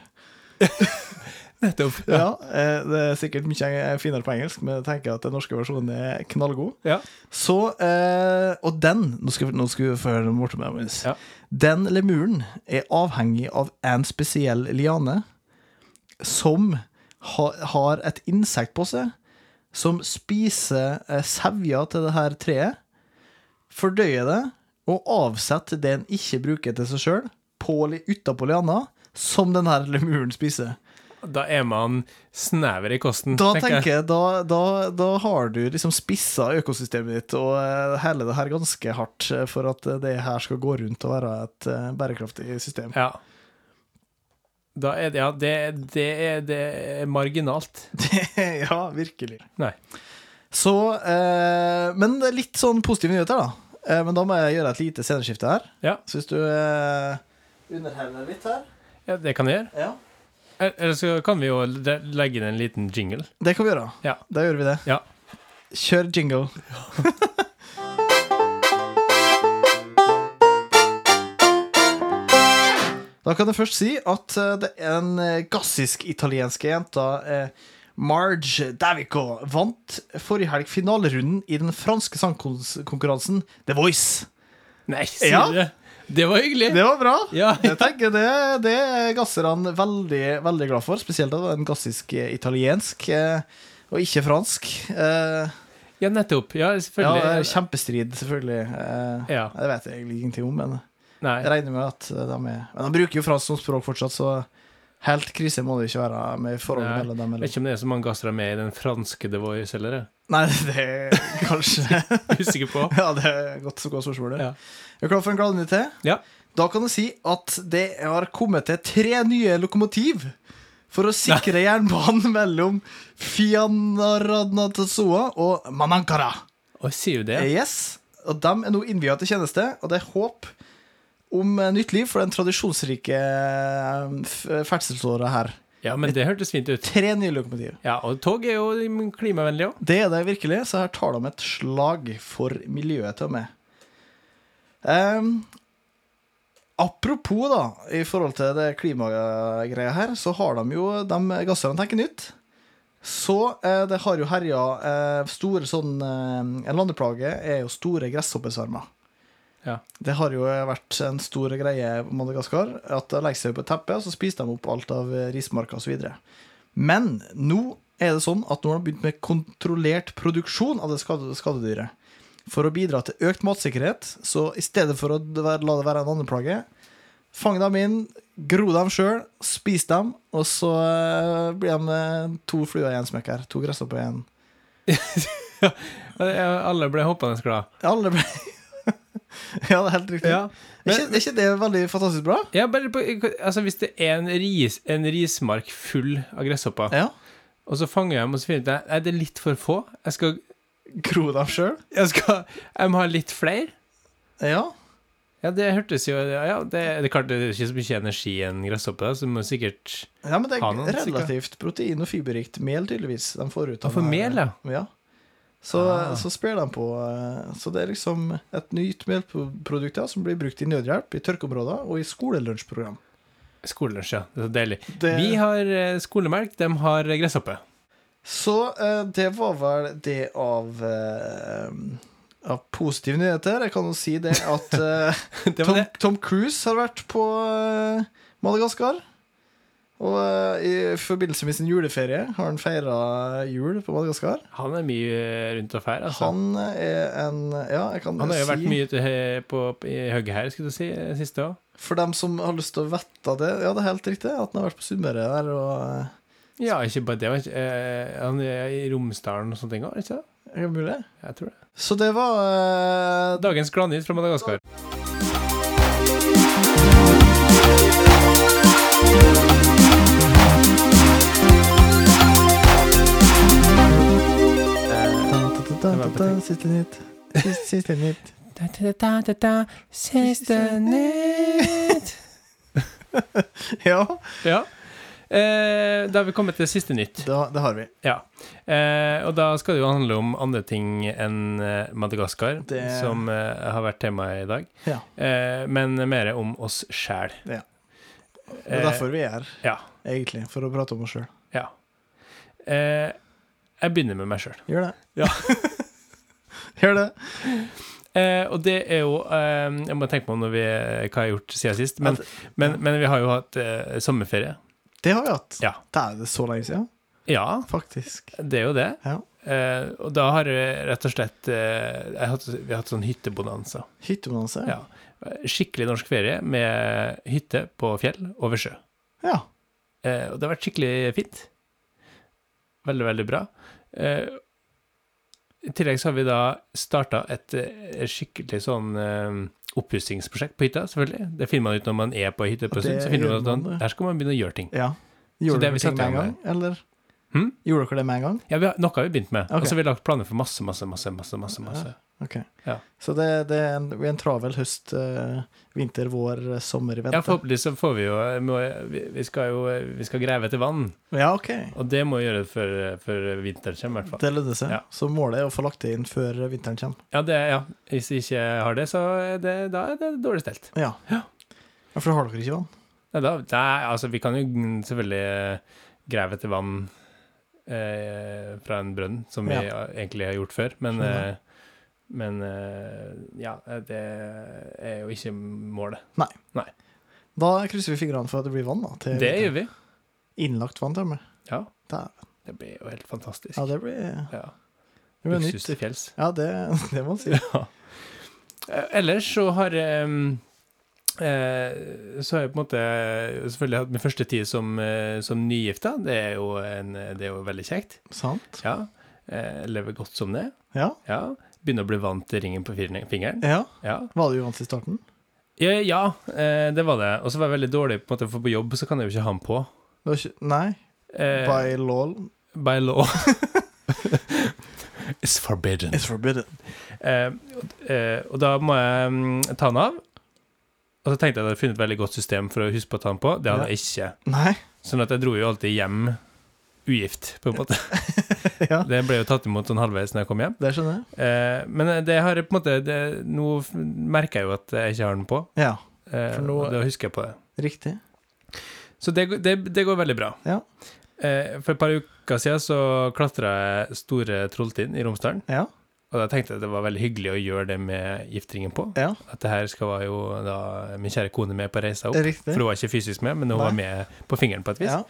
Speaker 3: Nettopp.
Speaker 4: Ja, eh, det er sikkert mye finere på engelsk, men jeg tenker at den norske versjonen er knallgod.
Speaker 3: Ja.
Speaker 4: Så, eh, og den Nå skal, nå skal vi få høre noe morsomt. Magnus.
Speaker 3: Ja.
Speaker 4: Den lemuren er avhengig av en spesiell liane som ha, har et insekt på seg, som spiser eh, sevja til det her treet, fordøyer det og avsetter det en ikke bruker til seg sjøl, utapå liana, som den her lemuren spiser.
Speaker 3: Da er man snever i kosten,
Speaker 4: Da Mm, tenker jeg, da, da, da har du liksom spissa økosystemet ditt og eh, hele det her ganske hardt eh, for at eh, det her skal gå rundt og være et eh, bærekraftig system.
Speaker 3: Ja. Da er det, ja, det, det, er, det er marginalt.
Speaker 4: ja, virkelig.
Speaker 3: Nei.
Speaker 4: Så eh, Men det er litt sånn positive nyheter, da. Eh, men da må jeg gjøre et lite sceneskifte her.
Speaker 3: Ja.
Speaker 4: Så hvis du eh, underhevner litt her
Speaker 3: Ja, det kan jeg gjøre.
Speaker 4: Ja.
Speaker 3: Eller- Eller så kan vi jo le- legge inn en liten jingle.
Speaker 4: Det kan vi gjøre.
Speaker 3: Ja.
Speaker 4: Da gjør vi det.
Speaker 3: Ja.
Speaker 4: Kjør jingle. da kan jeg først si at eh, det er en eh, gassisk-italienske jenta eh, Marge Davico vant forrige helg finalerunden i den franske sangkonkurransen The Voice.
Speaker 3: Nei, sier
Speaker 4: Ja.
Speaker 3: du det? Det var hyggelig!
Speaker 4: Det var bra!
Speaker 3: Ja.
Speaker 4: Jeg tenker det, det er gasserne veldig, veldig glad for. Spesielt at det var en gassisk-italiensk, eh, og ikke fransk. Eh,
Speaker 3: ja, nettopp. Ja,
Speaker 4: Ja, det er
Speaker 3: selvfølgelig.
Speaker 4: kjempestrid, selvfølgelig. Eh,
Speaker 3: Ja.
Speaker 4: Det vet jeg egentlig ingenting om, men
Speaker 3: Nei.
Speaker 4: jeg regner med at eh, de er Men de bruker jo fransk som språk fortsatt, så helt krise må det ikke være med forholdet
Speaker 3: Nei,
Speaker 4: mellom
Speaker 3: Jeg
Speaker 4: dem.
Speaker 3: vet
Speaker 4: Eller.
Speaker 3: ikke om det er så mange gassere med i den franske The Voice, eller?
Speaker 4: Nei, det er kanskje
Speaker 3: jeg er Usikker på.
Speaker 4: Ja, det er et godt, godt spørsmål. det.
Speaker 3: Ja.
Speaker 4: Er du klar for en gladnyhet til?
Speaker 3: Ja.
Speaker 4: Da kan du si at det har kommet til tre nye lokomotiv for å sikre jernbanen mellom Fianaradnatazoa og Manankara.
Speaker 3: Og sier jo det.
Speaker 4: Eh, Yes, og de er nå innvia til tjeneste, og det er håp om eh, nytt liv for den tradisjonsrike eh, f- ferdselsåra her.
Speaker 3: Ja, men det hørtes fint ut.
Speaker 4: Tre nye lokomotiv.
Speaker 3: Ja, og tog er jo klimavennlig òg.
Speaker 4: Det er det virkelig, så her tar de et slag for miljøet til og med. Ehm, apropos, da, i forhold til det klimagreia her, så har de jo de gasserne tenker nytt. Så eh, det har jo herja eh, store sånn eh, En landeplage er jo store gresshoppesvermer.
Speaker 3: Ja.
Speaker 4: Det har jo vært en stor greie på Madagaskar. At de legger seg på et teppe, og så spiser de opp alt av eh, rismarka osv. Men nå er det sånn at nå har de begynt med kontrollert produksjon av det skade- skadedyret. For å bidra til økt matsikkerhet, så i stedet for å la det være en andeplage, fang dem inn, gro dem sjøl, spis dem, og så eh, blir de eh, to fluer i en smekk her. To gresshopper i en.
Speaker 3: Alle ble hoppende glad.
Speaker 4: Alle ble Ja, det er helt riktig.
Speaker 3: Ja,
Speaker 4: er, ikke, er ikke det veldig fantastisk bra?
Speaker 3: Ja, bare på, altså Hvis det er en, ris, en rismark full av gresshopper,
Speaker 4: Ja.
Speaker 3: og så fanger jeg dem og så finner jeg ut at nei, det er litt for få Jeg skal,
Speaker 4: Gro dem sjøl?
Speaker 3: jeg skal jeg må ha litt flere.
Speaker 4: Ja.
Speaker 3: Ja, det hørtes jo Ja, det, det er klart det er ikke så mye energi i en gresshoppe, da, så du må sikkert
Speaker 4: Ja, men det
Speaker 3: Ha noen,
Speaker 4: er relativt protein- og fiberrikt mel, tydeligvis. De får ut
Speaker 3: Og for
Speaker 4: den her-
Speaker 3: mel, ja.
Speaker 4: ja. Så,
Speaker 3: Ah.
Speaker 4: så sprer de på eh, Så det er liksom et nytt melprodukt ja, som blir brukt i nødhjelp, i tørkeområder og i skolelunsjprogram.
Speaker 3: Skolelunsj, ja. Det er så deilig.
Speaker 4: Det-
Speaker 3: Vi har eh, skolemelk, de har gresshoppe.
Speaker 4: Så eh, det var vel det av eh, av positive nyheter. Jeg kan jo si det at eh,
Speaker 3: Det
Speaker 4: Tom,
Speaker 3: var det.
Speaker 4: Tom Cruise har vært på eh, Madagaskar. Og eh, i forbindelse med sin juleferie har han feira jul på Madagaskar.
Speaker 3: Han er mye rundt og fær, altså. Han,
Speaker 4: Han er en Ja, jeg kan
Speaker 3: har jo
Speaker 4: si
Speaker 3: vært mye ute he- på, i hugget her, skulle du si, eh, siste òg.
Speaker 4: For dem som har lyst til å vette det, ja, det er helt riktig at han har vært på Sunnmøre der og eh,
Speaker 3: Ja, ikke bare det. men, eh, Han er i Romsdalen og sånne ting òg, ikke det?
Speaker 4: er det mulig.
Speaker 3: Jeg tror det.
Speaker 4: Så det var eh,
Speaker 3: Dagens gladnytt fra Madagaskar.
Speaker 4: Siste nytt. Siste, siste nytt.
Speaker 3: Siste nytt.
Speaker 4: Ja,
Speaker 3: Ja. Eh, da har vi kommet til siste nytt.
Speaker 4: da, det har vi.
Speaker 3: Ja. Eh, og da skal det jo handle om andre ting enn eh, Madagaskar,
Speaker 4: Det-
Speaker 3: som eh, har vært temaet i dag.
Speaker 4: Ja.
Speaker 3: Eh, men mer om oss sjæl.
Speaker 4: Ja. Det er derfor vi er her,
Speaker 3: Eh, ja.
Speaker 4: egentlig. For å prate om oss sjøl.
Speaker 3: ja. Eh, jeg begynner med meg sjøl.
Speaker 4: Gjør det.
Speaker 3: Ja.
Speaker 4: Gjør det.
Speaker 3: Eh, og det er jo eh, Jeg må tenke meg om når vi, eh, hva jeg har gjort siden sist. Men,
Speaker 4: Ja, det-
Speaker 3: men, men vi har jo hatt eh, sommerferie.
Speaker 4: Det har vi hatt.
Speaker 3: Ja.
Speaker 4: Det er det så lenge siden,
Speaker 3: ja,
Speaker 4: faktisk.
Speaker 3: det er jo det.
Speaker 4: Ja.
Speaker 3: Eh, og da har jeg rett og slett eh, jeg har hatt, Vi har hatt sånn hyttebonanza.
Speaker 4: Hyttebonanse.
Speaker 3: Ja. Skikkelig norsk ferie med hytte på fjell over sjø.
Speaker 4: ja.
Speaker 3: Eh, og det har vært skikkelig fint. Veldig, veldig bra. Eh, I tillegg så har vi da starta et eh, skikkelig sånn eh, oppussingsprosjekt på hytta, selvfølgelig. Det finner man ut når man er på ei hytte på
Speaker 4: Og
Speaker 3: en stund.
Speaker 4: det
Speaker 3: Så finner
Speaker 4: gjør
Speaker 3: man ut at
Speaker 4: man,
Speaker 3: man,
Speaker 4: det.
Speaker 3: her skal man begynne å gjøre ting.
Speaker 4: Ja.
Speaker 3: Så
Speaker 4: Gjorde
Speaker 3: det har
Speaker 4: dere
Speaker 3: vi
Speaker 4: ting
Speaker 3: satt
Speaker 4: med en
Speaker 3: i gang
Speaker 4: gang, eller?
Speaker 3: Hm?
Speaker 4: Gjorde dere det med en gang?
Speaker 3: Ja, vi har, noe har vi begynt med.
Speaker 4: Ok.
Speaker 3: Og så har vi lagt planer for masse, masse, masse. masse, masse, masse.
Speaker 4: Ok.
Speaker 3: Ja.
Speaker 4: Så det, det er en, vi er en travel høst, eh, vinter, vår, eh, sommer i vente?
Speaker 3: Ja, forhåpentlig så får vi jo eh, må, vi, vi skal jo eh, vi skal grave etter vann.
Speaker 4: Ja, ok.
Speaker 3: Og det må vi gjøre før, eh, før vinteren kommer, i hvert fall.
Speaker 4: Det lønner seg.
Speaker 3: Ja.
Speaker 4: Så målet er å få lagt det inn før vinteren kommer.
Speaker 3: Ja, det, ja. Hvis jeg ikke har det, så er det, da er det dårlig stelt.
Speaker 4: Ja.
Speaker 3: Ja.
Speaker 4: Ja, For da har dere ikke vann?
Speaker 3: Nei, da, nei, altså, vi kan jo mm, selvfølgelig eh, grave etter vann eh, fra en brønn, som vi
Speaker 4: Ja.
Speaker 3: eh, egentlig har gjort før, men,
Speaker 4: Skjønner.
Speaker 3: eh, men eh, ja, det er jo ikke målet.
Speaker 4: Da krysser vi fingrene for at det blir vann, da. Til
Speaker 3: Det gjør vi.
Speaker 4: Innlagt vann, til og med.
Speaker 3: Ja.
Speaker 4: Da-
Speaker 3: Det blir jo helt fantastisk.
Speaker 4: Ja, det blir,
Speaker 3: Ja.
Speaker 4: det blir
Speaker 3: Luksus
Speaker 4: nytt.
Speaker 3: til fjells.
Speaker 4: Ja, det, det må man si.
Speaker 3: Ja. Eh, Ellers så har em, eh, Så har jeg på en måte selvfølgelig hatt min første tid som, eh, som nygifta. Det er jo, en, det er jo veldig kjekt.
Speaker 4: Sant?
Speaker 3: Ja. Eh, lever godt som det.
Speaker 4: Ja.
Speaker 3: Ja. Begynner å bli vant til ringen på firne- fingeren.
Speaker 4: ja.
Speaker 3: Ja,
Speaker 4: Var det uvant i starten?
Speaker 3: ja, ja eh, det var det. Og så var jeg veldig dårlig på en måte, for på jobb så kan jeg jo ikke ha den på.
Speaker 4: Det var ikke, nei.
Speaker 3: Eh,
Speaker 4: By law
Speaker 3: by law. It's forbidden.
Speaker 4: it's forbidden.
Speaker 3: Eh, og- eh, og da må jeg mm, ta den av. Og så tenkte jeg at jeg hadde funnet et veldig godt system for å huske på å ta den på. Det hadde jeg ikke.
Speaker 4: Nei.
Speaker 3: Sånn at jeg dro jo alltid hjem ugift, på en måte.
Speaker 4: Ja,
Speaker 3: Det ble jo tatt imot sånn halvveis når jeg kom hjem.
Speaker 4: det skjønner jeg.
Speaker 3: Eh, men det har jeg på en måte det, Nå f- merker jeg jo at jeg ikke har den på.
Speaker 4: Ja,
Speaker 3: Eh,
Speaker 4: For nå-
Speaker 3: og da husker jeg på det.
Speaker 4: riktig.
Speaker 3: Så det, går- det, det går veldig bra.
Speaker 4: Ja.
Speaker 3: Eh, for et par uker siden så klatra jeg Store Trolltind i Romsdalen.
Speaker 4: Ja.
Speaker 3: Og da tenkte jeg at det var veldig hyggelig å gjøre det med giftringen på.
Speaker 4: Ja,
Speaker 3: At det her skal være jo da min kjære kone med på reisa opp.
Speaker 4: riktig.
Speaker 3: For hun var ikke fysisk med, men hun var med på fingeren på et vis.
Speaker 4: Ja.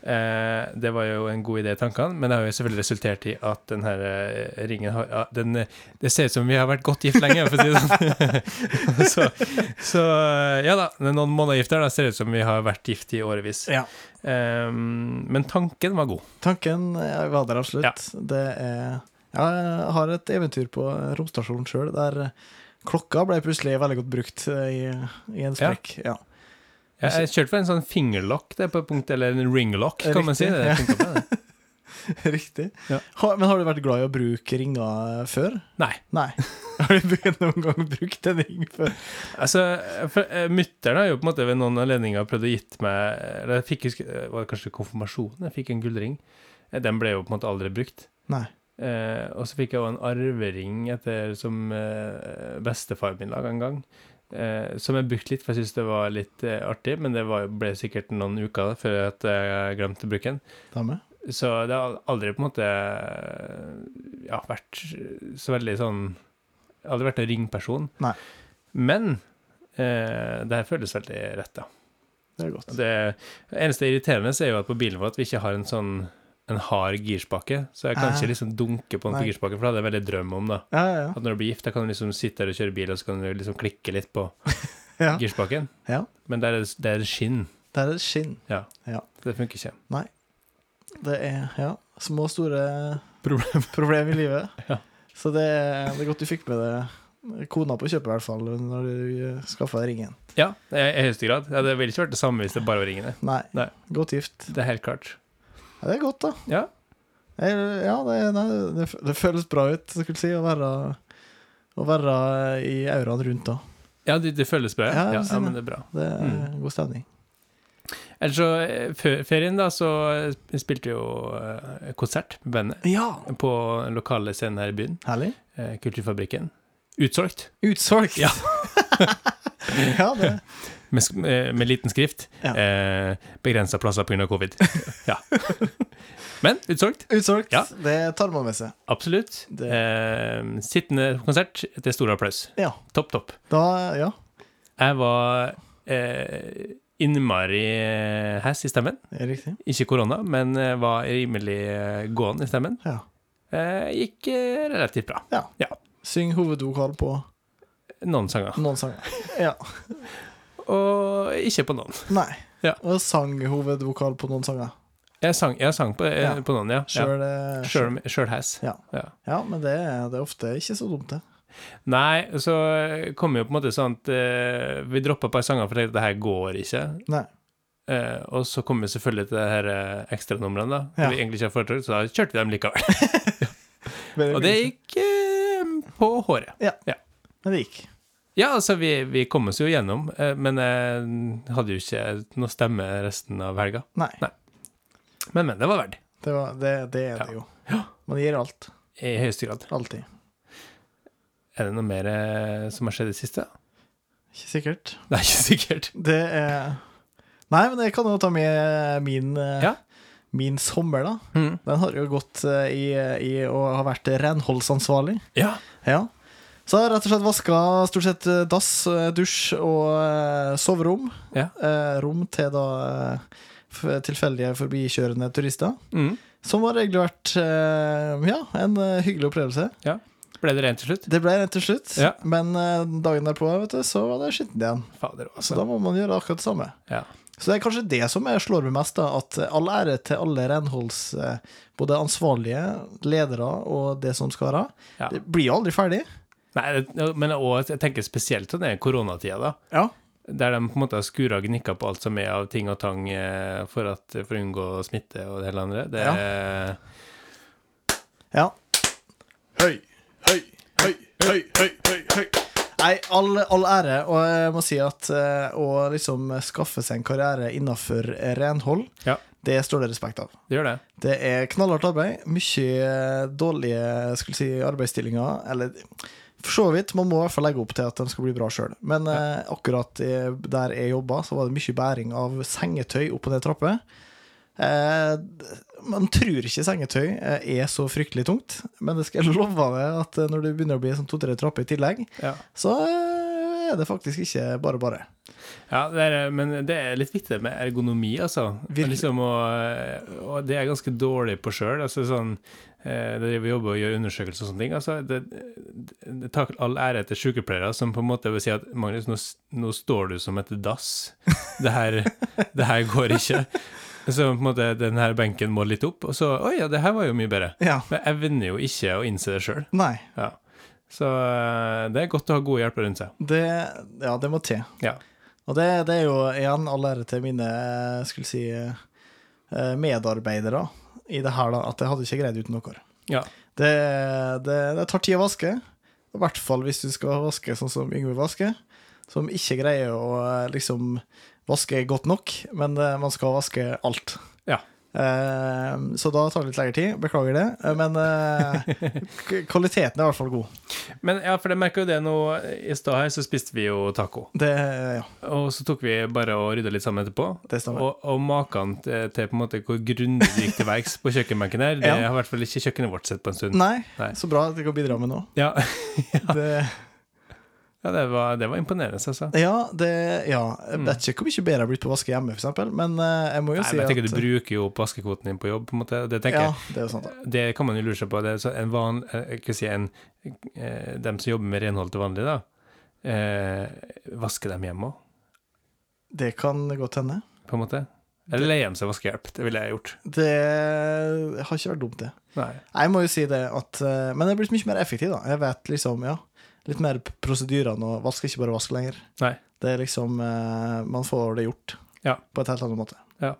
Speaker 3: Eh, det var jo en god idé i tankene, men det har jo selvfølgelig resultert i at den her eh, ringen har ja, den, eh, Det ser ut som vi har vært godt gift lenge, for å si det sånn. så, så eh, ja da, det er noen måneder gift der, da ser det ut som vi har vært gift i årevis.
Speaker 4: Ja.
Speaker 3: Eh, men tanken var god.
Speaker 4: Tanken eh, var der absolutt. Det er ja, Jeg har et eventyr på romstasjonen sjøl, der eh, klokka ble plutselig veldig godt brukt eh, i, i en sprekk. Ja.
Speaker 3: Jeg, jeg kjørte for en sånn fingerlock der på et punkt, eller en ringlock, kan man si.
Speaker 4: Riktig,
Speaker 3: Det
Speaker 4: ja.
Speaker 3: funket bra, det.
Speaker 4: Riktig.
Speaker 3: Ja.
Speaker 4: Ha, men har du vært glad i å bruke ringer eh, før?
Speaker 3: Nei.
Speaker 4: Nei. Har du brukt- noen gang brukt en ring før?
Speaker 3: Altså, for, eh, Mutter'n har jo på en måte ved noen anledninger prøvd å gitt meg Eller jeg fikk, husk- eh, var det kanskje konfirmasjonen? Jeg fikk en gullring. Eh, Den ble jo på en måte aldri brukt.
Speaker 4: Nei.
Speaker 3: Eh, og så fikk jeg jo en arvering etter som eh, bestefar min laga en gang. eh, som jeg brukte litt, for jeg syntes det var litt eh, artig, men det var, jo- ble sikkert noen uker før at jeg glemte å bruke den.
Speaker 4: Dame.
Speaker 3: Så det har aldri på en måte ja, vært så veldig sånn jeg har Aldri vært en ringperson.
Speaker 4: Nei.
Speaker 3: Men eh, det her føles veldig rett, da.
Speaker 4: Det er godt.
Speaker 3: Det eneste irriterende er jo at på bilen vår at vi ikke har en sånn en hard girspakke. Så jeg kan
Speaker 4: Ah.
Speaker 3: ikke liksom dunke på den på
Speaker 4: Nei.
Speaker 3: girspaken, for det hadde jeg veldig drøm om. da.
Speaker 4: Ja, ja,
Speaker 3: At når du blir gift, da kan du liksom sitte der og kjøre bil, og så kan du liksom klikke litt på
Speaker 4: ja. ja.
Speaker 3: girspaken.
Speaker 4: ja.
Speaker 3: Men der er det, det er skinn.
Speaker 4: Det er et skinn.
Speaker 3: Ja.
Speaker 4: Ja.
Speaker 3: Det funker ikke.
Speaker 4: Det er ja, små og store
Speaker 3: Problem.
Speaker 4: problemer i livet.
Speaker 3: Ja.
Speaker 4: Så det, er- det er godt du fikk med deg kona på kjøpet, i hvert fall, når du skaffa deg ringen.
Speaker 3: Ja, i i høyeste grad. Ja, det ville ikke vært det samme hvis det bare var ringene.
Speaker 4: Nei.
Speaker 3: Nei.
Speaker 4: Godt gift.
Speaker 3: Det er helt klart.
Speaker 4: Ja, det er godt, da.
Speaker 3: Ja.
Speaker 4: Jeg, ja, det, nei, det, det føles bra ut, skulle jeg si, å være, å være i auraen rundt da.
Speaker 3: Ja, det, det føles bra.
Speaker 4: Ja,
Speaker 3: Ja, ja,
Speaker 4: jeg ser det.
Speaker 3: men det er bra.
Speaker 4: Det er
Speaker 3: Mm.
Speaker 4: god stemning.
Speaker 3: Ellers så, eh, før ferien, da, så eh, spilte vi jo eh, konsert med bandet
Speaker 4: Ja!
Speaker 3: på den lokale scenen her i byen.
Speaker 4: Herlig.
Speaker 3: eh, Kulturfabrikken. Utsolgt,
Speaker 4: Utsolgt!
Speaker 3: Ja.
Speaker 4: Ja, det
Speaker 3: med, sk- eh, med liten skrift.
Speaker 4: Ja.
Speaker 3: Eh, Begrensa plasser pga. covid. Ja. Men utsolgt.
Speaker 4: Utsolgt.
Speaker 3: Ja.
Speaker 4: Det tar man med seg.
Speaker 3: Absolutt.
Speaker 4: Det-
Speaker 3: Eh, sittende konsert til stor applaus.
Speaker 4: Ja.
Speaker 3: Topp, topp.
Speaker 4: Da, ja.
Speaker 3: Jeg var eh, innmari eh, hess i stemmen.
Speaker 4: Det er riktig.
Speaker 3: Ikke korona, men eh, var rimelig eh, gåen i stemmen.
Speaker 4: Ja.
Speaker 3: Eh, gikk eh, relativt bra.
Speaker 4: Syng hovedvokal på
Speaker 3: Noen sanger.
Speaker 4: noen sanger. Ja.
Speaker 3: Og ikke på noen.
Speaker 4: Nei.
Speaker 3: Ja.
Speaker 4: Og sang hovedvokal på noen sanger.
Speaker 3: Jeg sang, jeg sang på, eh,
Speaker 4: Ja.
Speaker 3: på noen, ja. ja.
Speaker 4: Sjøl det-
Speaker 3: Sjøl sjøl has.
Speaker 4: Ja. Ja, men det, er- det er ofte ikke så dumt, det.
Speaker 3: Nei, så kom jo på en måte sånn at eh, vi droppa et par sanger for at det her går ikke.
Speaker 4: Nei.
Speaker 3: Eh, og så kom vi selvfølgelig til det her eh, ekstranumrene, da.
Speaker 4: Ja.
Speaker 3: som Vi egentlig ikke har foretrukket, så da kjørte vi dem likevel.
Speaker 4: Men,
Speaker 3: Og det gikk eh, på håret.
Speaker 4: Men det gikk.
Speaker 3: Ja, altså, vi, vi kom oss jo gjennom, eh, men jeg hadde jo ikke noe stemme resten av helga.
Speaker 4: Nei.
Speaker 3: Men, men, det var verdt.
Speaker 4: Det, var, det, det er det
Speaker 3: Ja.
Speaker 4: jo. Man gir alt.
Speaker 3: I høyeste grad.
Speaker 4: Alltid.
Speaker 3: Er det noe mer eh, som har skjedd i det siste?
Speaker 4: Ikke sikkert.
Speaker 3: Det er ikke sikkert.
Speaker 4: Det er Nei, men jeg kan jo ta med min, eh,
Speaker 3: Ja.
Speaker 4: min sommer, da. Den har jo gått eh, i, i å ha vært renholdsansvarlig.
Speaker 3: Ja.
Speaker 4: Ja. Så jeg har rett og slett vaska stort sett eh, dass, eh, dusj og eh, soverom.
Speaker 3: Ja.
Speaker 4: Eh, rom til da eh, f- tilfeldige forbikjørende turister. Som har egentlig vært eh, ja, en eh, hyggelig opplevelse.
Speaker 3: Ble det rent til slutt?
Speaker 4: Det ble rent til slutt,
Speaker 3: Ja.
Speaker 4: men eh, dagen derpå vet du, så var det skittent igjen.
Speaker 3: Fader,
Speaker 4: Så
Speaker 3: altså.
Speaker 4: da må man gjøre akkurat det samme.
Speaker 3: Ja.
Speaker 4: Så det er kanskje det som jeg slår meg mest, da, at eh, all ære til alle renholds... eh, Både ansvarlige, ledere og det som skal være.
Speaker 3: Ja.
Speaker 4: Det blir jo aldri ferdig.
Speaker 3: Nei, det- men også, jeg tenker spesielt på den koronatida, da.
Speaker 4: Ja.
Speaker 3: Der de på en måte har skura og gnikka på alt som er av ting og tang eh, for, at, for å unngå smitte og det hele andre. Det,
Speaker 4: Ja. ja.
Speaker 1: Hei, hei, hei, hei, hei, hei, hei.
Speaker 4: Nei, all, all ære, og jeg må si at eh, å liksom skaffe seg en karriere innafor renhold,
Speaker 3: Ja.
Speaker 4: det står det respekt av.
Speaker 3: det gjør det.
Speaker 4: Det er knallhardt arbeid. Mye eh, dårlige skulle jeg si, arbeidsstillinger. Eller for så vidt. Man må i hvert fall legge opp til at de skal bli bra sjøl. Men eh, akkurat eh, der jeg jobba, så var det mye bæring av sengetøy opp og ned trapper. Eh, d- man tror ikke sengetøy eh, er så fryktelig tungt, men det skal jeg love deg at eh, når du begynner å bli sånn to-tre trapper i tillegg,
Speaker 3: Ja.
Speaker 4: så eh, er det faktisk ikke bare bare.
Speaker 3: Ja, det er, men det er litt viktig med ergonomi, altså.
Speaker 4: Virkelig.
Speaker 3: Liksom, og, og det er jeg ganske dårlig på sjøl. Altså, sånn, eh, det driver vi jobber og gjør undersøkelser og sånne ting. Altså, det, det, det tar all ære til sykepleiere som på en måte vil si at Magnus, nå, s- nå står du som et dass. Det her, det her går ikke. Så på en måte, den her benken må litt opp, og så Oi ja, det her var jo mye bedre.
Speaker 4: Ja.
Speaker 3: Men jeg evner jo ikke å innse det sjøl.
Speaker 4: Nei.
Speaker 3: Ja. Så eh, det er godt å ha gode hjelpere rundt seg.
Speaker 4: Det, ja, det må til.
Speaker 3: Ja.
Speaker 4: Og det, det er jo igjen all ære til mine eh, skulle si, eh, medarbeidere i det her, da, at jeg hadde ikke greid uten dere.
Speaker 3: ja.
Speaker 4: Det, det, det tar tid å vaske, i hvert fall hvis du skal vaske sånn som Yngve vasker, som ikke greier å eh, liksom vaske godt nok, men eh, man skal vaske alt.
Speaker 3: Ja.
Speaker 4: Eh, så da tar det litt lengre tid. Beklager det. eh, Men eh, k- kvaliteten er i hvert fall god.
Speaker 3: Men ja, for jeg merka jo det nå i stad her, så spiste vi jo taco.
Speaker 4: Det, ja,
Speaker 3: Og så tok vi bare og rydda litt sammen etterpå.
Speaker 4: det stemmer.
Speaker 3: Og, og maken til, til på en måte hvor grundig vi gikk til verks på kjøkkenbenken der, det
Speaker 4: Ja.
Speaker 3: har i hvert fall ikke kjøkkenet vårt sett på en stund.
Speaker 4: Nei,
Speaker 3: Nei.
Speaker 4: så bra at vi kan bidra med noe.
Speaker 3: Ja, ja
Speaker 4: Det,
Speaker 3: det, var, det var imponerende, altså.
Speaker 4: ja, det, ja. Jeg vet ikke hvor mye bedre jeg har blitt på å vaske hjemme, f.eks., men eh, jeg må
Speaker 3: Mm.
Speaker 4: jo
Speaker 3: Nei,
Speaker 4: si
Speaker 3: men jeg tenker
Speaker 4: at
Speaker 3: Du bruker jo opp vaskekvoten din på jobb, på en måte. Det tenker
Speaker 4: Ja,
Speaker 3: jeg.
Speaker 4: det er jo sant, da.
Speaker 3: Det kan man jo lure seg på. Det er så en van, eh, hva skal jeg si, en, eh, dem som jobber med renhold til vanlig, da, eh, vasker dem hjemme òg,
Speaker 4: Det kan godt hende.
Speaker 3: på en måte? Eller leier dem seg vaskehjelp? Det ville jeg gjort.
Speaker 4: Det har ikke vært dumt, det.
Speaker 3: Nei.
Speaker 4: Nei, Jeg må jo si det at eh, Men jeg er blitt mye mer effektiv, da. Jeg vet liksom, ja Litt mer p- prosedyrene og vask, ikke bare vask lenger.
Speaker 3: Nei.
Speaker 4: Det er liksom eh, Man får det gjort
Speaker 3: Ja.
Speaker 4: på et helt annet måte.
Speaker 3: Ja.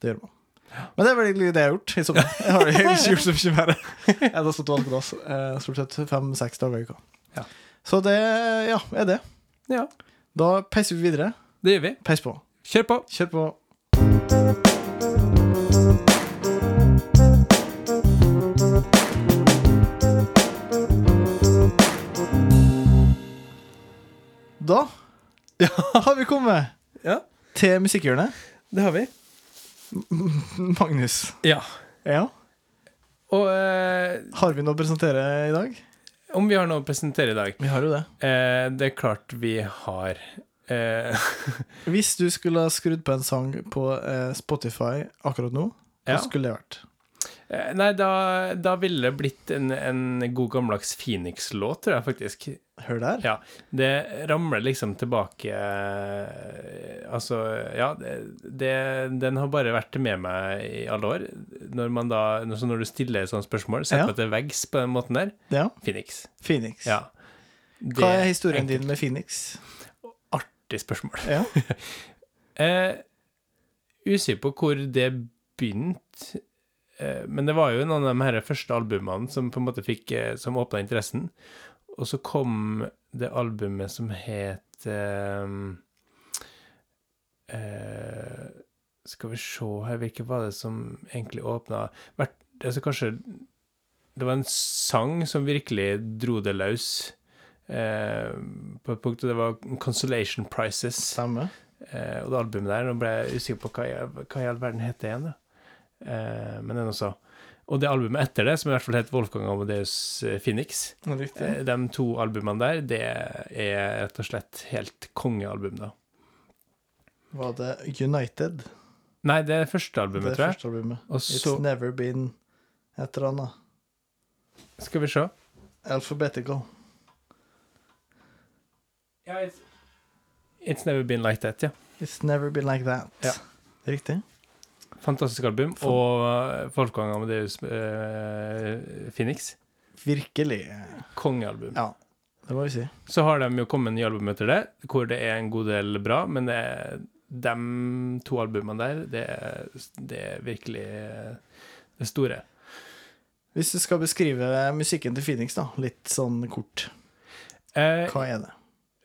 Speaker 4: Det gjør man. Men det er vel egentlig det jeg har gjort. i sommer. Jeg har egentlig ikke gjort så mye mer. Jeg har stått og vasket dass eh, stort sett fem-seks dager i uka.
Speaker 3: Ja.
Speaker 4: Så det ja, er det.
Speaker 3: Ja,
Speaker 4: Da peiser vi videre.
Speaker 3: det gjør vi.
Speaker 4: Peis på.
Speaker 3: Kjør på!
Speaker 4: Kjør på. Da har vi kommet
Speaker 3: Ja.
Speaker 4: til musikkhjørnet.
Speaker 3: Det har vi.
Speaker 4: Magnus,
Speaker 3: Ja.
Speaker 4: ja.
Speaker 3: Og eh,
Speaker 4: har vi noe å presentere i dag?
Speaker 3: om vi har noe å presentere i dag?
Speaker 4: Vi har jo det.
Speaker 3: Eh, det er klart vi har. Eh,
Speaker 4: Hvis du skulle ha skrudd på en sang på eh, Spotify akkurat nå, hva
Speaker 3: Ja.
Speaker 4: skulle det vært?
Speaker 3: eh, nei, da, da ville det blitt en, en god gammeldags Phoenix-låt, tror jeg faktisk.
Speaker 4: Hør der.
Speaker 3: Ja, Det ramler liksom tilbake eh, Altså, ja det, det, Den har bare vært med meg i alle år. Når man da når- så Når du stiller et sånt spørsmål, setter
Speaker 4: Ja.
Speaker 3: meg til veggs på den måten der.
Speaker 4: Ja.
Speaker 3: Phoenix.
Speaker 4: Phoenix.
Speaker 3: Ja. Det
Speaker 4: Hva er historien
Speaker 3: enkelt.
Speaker 4: din med Phoenix?
Speaker 3: Artig spørsmål.
Speaker 4: Ja.
Speaker 3: Eh, Usikker på hvor det begynte, eh, men det var jo noen av de her første albumene som på en måte fikk eh, Som åpna interessen. Og så kom det albumet som het eh, eh, Skal vi se her Hvilket var det som egentlig åpna Vært- altså Kanskje det var en sang som virkelig dro det løs. Eh, på et punkt, og det var 'Consolation Prices'.
Speaker 4: Stemme.
Speaker 3: Eh, og det albumet der, nå ble jeg usikker på hva, i- hva i all verden het det igjen, da. Eh, men den også. Og det albumet etter det, som i hvert fall het Wolfgang Amadeus eh, Phoenix,
Speaker 4: Riktig.
Speaker 3: eh, de to albumene der, det er rett og slett helt kongealbum, da.
Speaker 4: Var det United?
Speaker 3: Nei, det er første
Speaker 4: Det
Speaker 3: albumet, tror jeg.
Speaker 4: første albumet.
Speaker 3: Og
Speaker 4: It's
Speaker 3: så
Speaker 4: Never Been et eller annet.
Speaker 3: Skal vi se.
Speaker 4: Alphabetical.
Speaker 3: It's Never Been Like That, ja.
Speaker 4: It's Never Been Like That.
Speaker 3: Ja.
Speaker 4: Riktig.
Speaker 3: Fantastisk album. Og eh, Wolfgang Amadeus eh, Phoenix,
Speaker 4: Virkelig.
Speaker 3: kongealbum.
Speaker 4: Ja, det må vi si.
Speaker 3: Så har de jo kommet nye album etter det, hvor det er en god del bra, men det er de to albumene der, det er, det er virkelig eh, det store.
Speaker 4: Hvis du skal beskrive musikken til Phoenix, da, litt sånn kort,
Speaker 3: Eh,
Speaker 4: hva er det?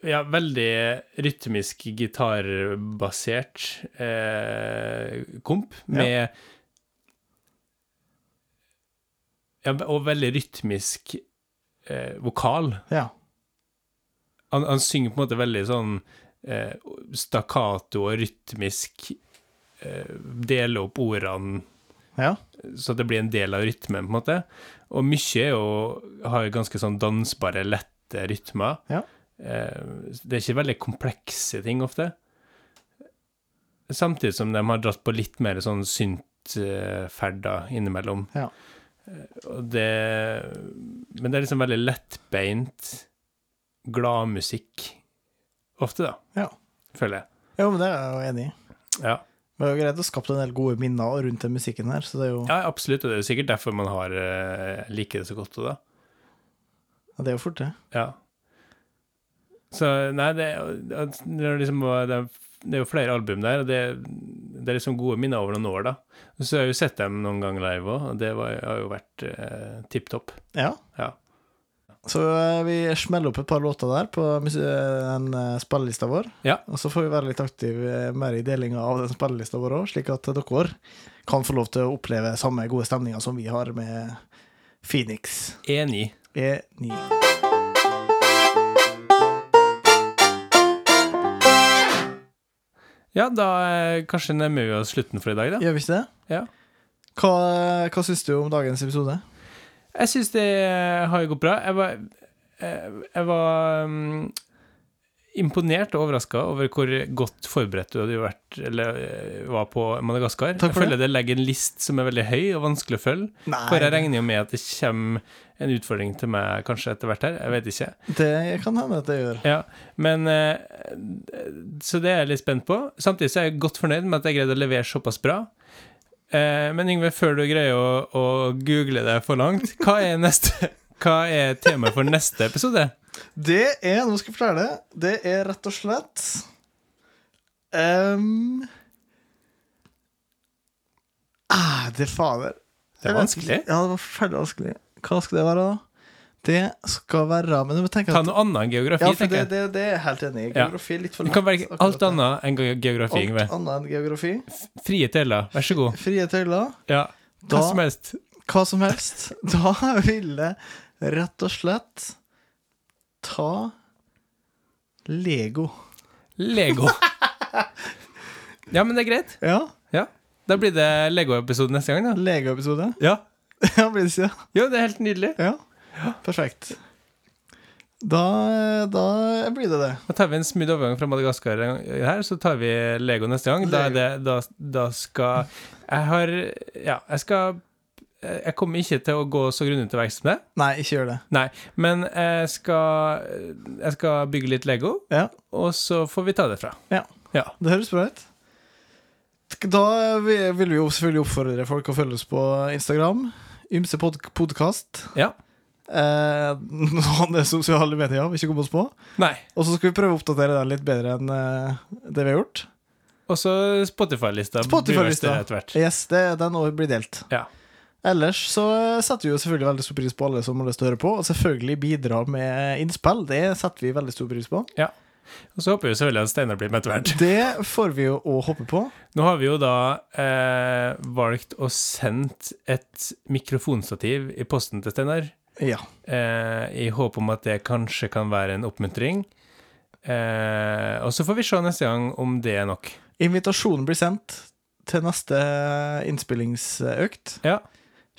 Speaker 3: ja, veldig rytmisk gitarbasert eh, komp med ja. og veldig rytmisk eh, vokal.
Speaker 4: Ja.
Speaker 3: han, han synger på en måte veldig sånn eh, stakkato og rytmisk. Eh, deler opp ordene
Speaker 4: ja.
Speaker 3: så det blir en del av rytmen, på en måte. Og mye er jo har jo ganske sånn dansbare, lette rytmer.
Speaker 4: Ja.
Speaker 3: Eh, det er ikke veldig komplekse ting ofte. Samtidig som de har dratt på litt mer sånn syntferder innimellom.
Speaker 4: Ja.
Speaker 3: Eh, Og det Men det er liksom veldig lettbeint gladmusikk ofte, da.
Speaker 4: Ja.
Speaker 3: Føler jeg.
Speaker 4: Jo, men det er jeg jo enig i.
Speaker 3: Ja.
Speaker 4: Det er jo greit å skape en del gode minner rundt den musikken her, så det er jo,
Speaker 3: ja, absolutt. Og det er jo sikkert derfor man har eh, liker det så godt. Og da.
Speaker 4: ja, det er jo fort, det.
Speaker 3: Ja. Så nei, det, at- det, er liksom, det, er, det er jo flere album der, og det, det er liksom gode minner over noen år, da. Og Så har jeg jo sett dem noen ganger live òg, og det var, har jo vært eh, tipp topp.
Speaker 4: Ja.
Speaker 3: Ja.
Speaker 4: Så eh, vi smeller opp et par låter der på mus- eh, den eh, spillelista vår.
Speaker 3: Ja.
Speaker 4: Og så får vi være litt aktive eh, mer i delinga av den spillelista vår òg, slik at dere kan få lov til å oppleve samme gode stemninga som vi har med Phoenix E
Speaker 3: Enig.
Speaker 4: E9.
Speaker 3: Ja, da eh, kanskje nærmer vi oss slutten for i dag, da.
Speaker 4: Gjør vi ikke det?
Speaker 3: Ja.
Speaker 4: Hva, hva syns du om dagens episode?
Speaker 3: Jeg syns det har gått bra. Jeg var, jeg, jeg var mm, imponert og overraska over hvor godt forberedt du hadde vært eller eh, var på Madagaskar.
Speaker 4: Takk for
Speaker 3: jeg føler det legger en list som er veldig høy og vanskelig å følge. For jeg regner jo med at det kommer en utfordring til meg kanskje etter hvert her. Jeg vet ikke.
Speaker 4: det kan hende at det gjør.
Speaker 3: Ja, men eh, Så det er jeg litt spent på. Samtidig så er jeg godt fornøyd med at jeg greide å levere såpass bra. Eh, Men Yngve, før du greier å, å google det for langt, hva er, neste, hva er temaet for neste episode?
Speaker 4: Det er Nå skal jeg fortelle det. Det er rett og slett um, ah, Det fader.
Speaker 3: Det er vanskelig.
Speaker 4: Ja, det var forferdelig vanskelig. Hva skal det være, da? Det skal være Men du må tenke
Speaker 3: Ta
Speaker 4: at
Speaker 3: noe annet enn geografi,
Speaker 4: ja, for det,
Speaker 3: tenker jeg.
Speaker 4: det, det er jeg helt enig i.
Speaker 3: Ja.
Speaker 4: Geografi er litt for
Speaker 3: Du kan velge
Speaker 4: langt,
Speaker 3: alt
Speaker 4: akkurat.
Speaker 3: annet enn ge- geografi, Yngve.
Speaker 4: Alt annet enn geografi.
Speaker 3: Frie tøyler, vær så god.
Speaker 4: Frie tøyler.
Speaker 3: Ja, hva
Speaker 4: Da-
Speaker 3: som helst.
Speaker 4: hva som helst. Da ville rett og slett ta Lego.
Speaker 3: Lego. Ja, men det er greit.
Speaker 4: Ja,
Speaker 3: Ja. Da blir det Lego-episode neste gang, da.
Speaker 4: Lego-episode.
Speaker 3: Ja.
Speaker 4: Ja, blir det ikke det?
Speaker 3: Jo, det er helt nydelig.
Speaker 4: Ja. Perfekt. Da, da blir det det.
Speaker 3: Da tar vi en smooth overgang fra Madagaskar en gang her, så tar vi Lego neste gang. Da, er det, da, da skal Jeg har Ja, jeg skal Jeg kommer ikke til å gå så grundig til verks som det,
Speaker 4: Nei, ikke gjør det.
Speaker 3: Nei, men jeg skal, jeg skal bygge litt Lego,
Speaker 4: Ja,
Speaker 3: og så får vi ta det fra.
Speaker 4: Ja.
Speaker 3: ja.
Speaker 4: Det høres bra ut. Da vi- vil vi jo selvfølgelig oppfordre folk å følge oss på Instagram. Ymse pod podkast.
Speaker 3: Ja.
Speaker 4: Eh, noen andre sosiale medier vi ikke kom oss på.
Speaker 3: Nei.
Speaker 4: Og så skal vi prøve å oppdatere den litt bedre enn eh, det vi har gjort.
Speaker 3: Og så Spotify-lista. blir
Speaker 4: Spotify-lista.
Speaker 3: verst etter hvert.
Speaker 4: Yes, det, Den også blir delt.
Speaker 3: Ja.
Speaker 4: Ellers så eh, setter vi jo selvfølgelig veldig stor pris på alle som har lyst til å høre på, og selvfølgelig bidra med innspill. Det setter vi veldig stor pris på.
Speaker 3: Og så håper vi selvfølgelig at Steinar blir med etter hvert.
Speaker 4: Det får vi jo å håpe på.
Speaker 3: Nå har vi jo da eh, valgt å sende et mikrofonstativ i posten til Steinar.
Speaker 4: Ja.
Speaker 3: eh, i håp om at det kanskje kan være en oppmuntring. Eh, og så får vi se neste gang om det er nok.
Speaker 4: Invitasjonen blir sendt til neste innspillingsøkt,
Speaker 3: Ja.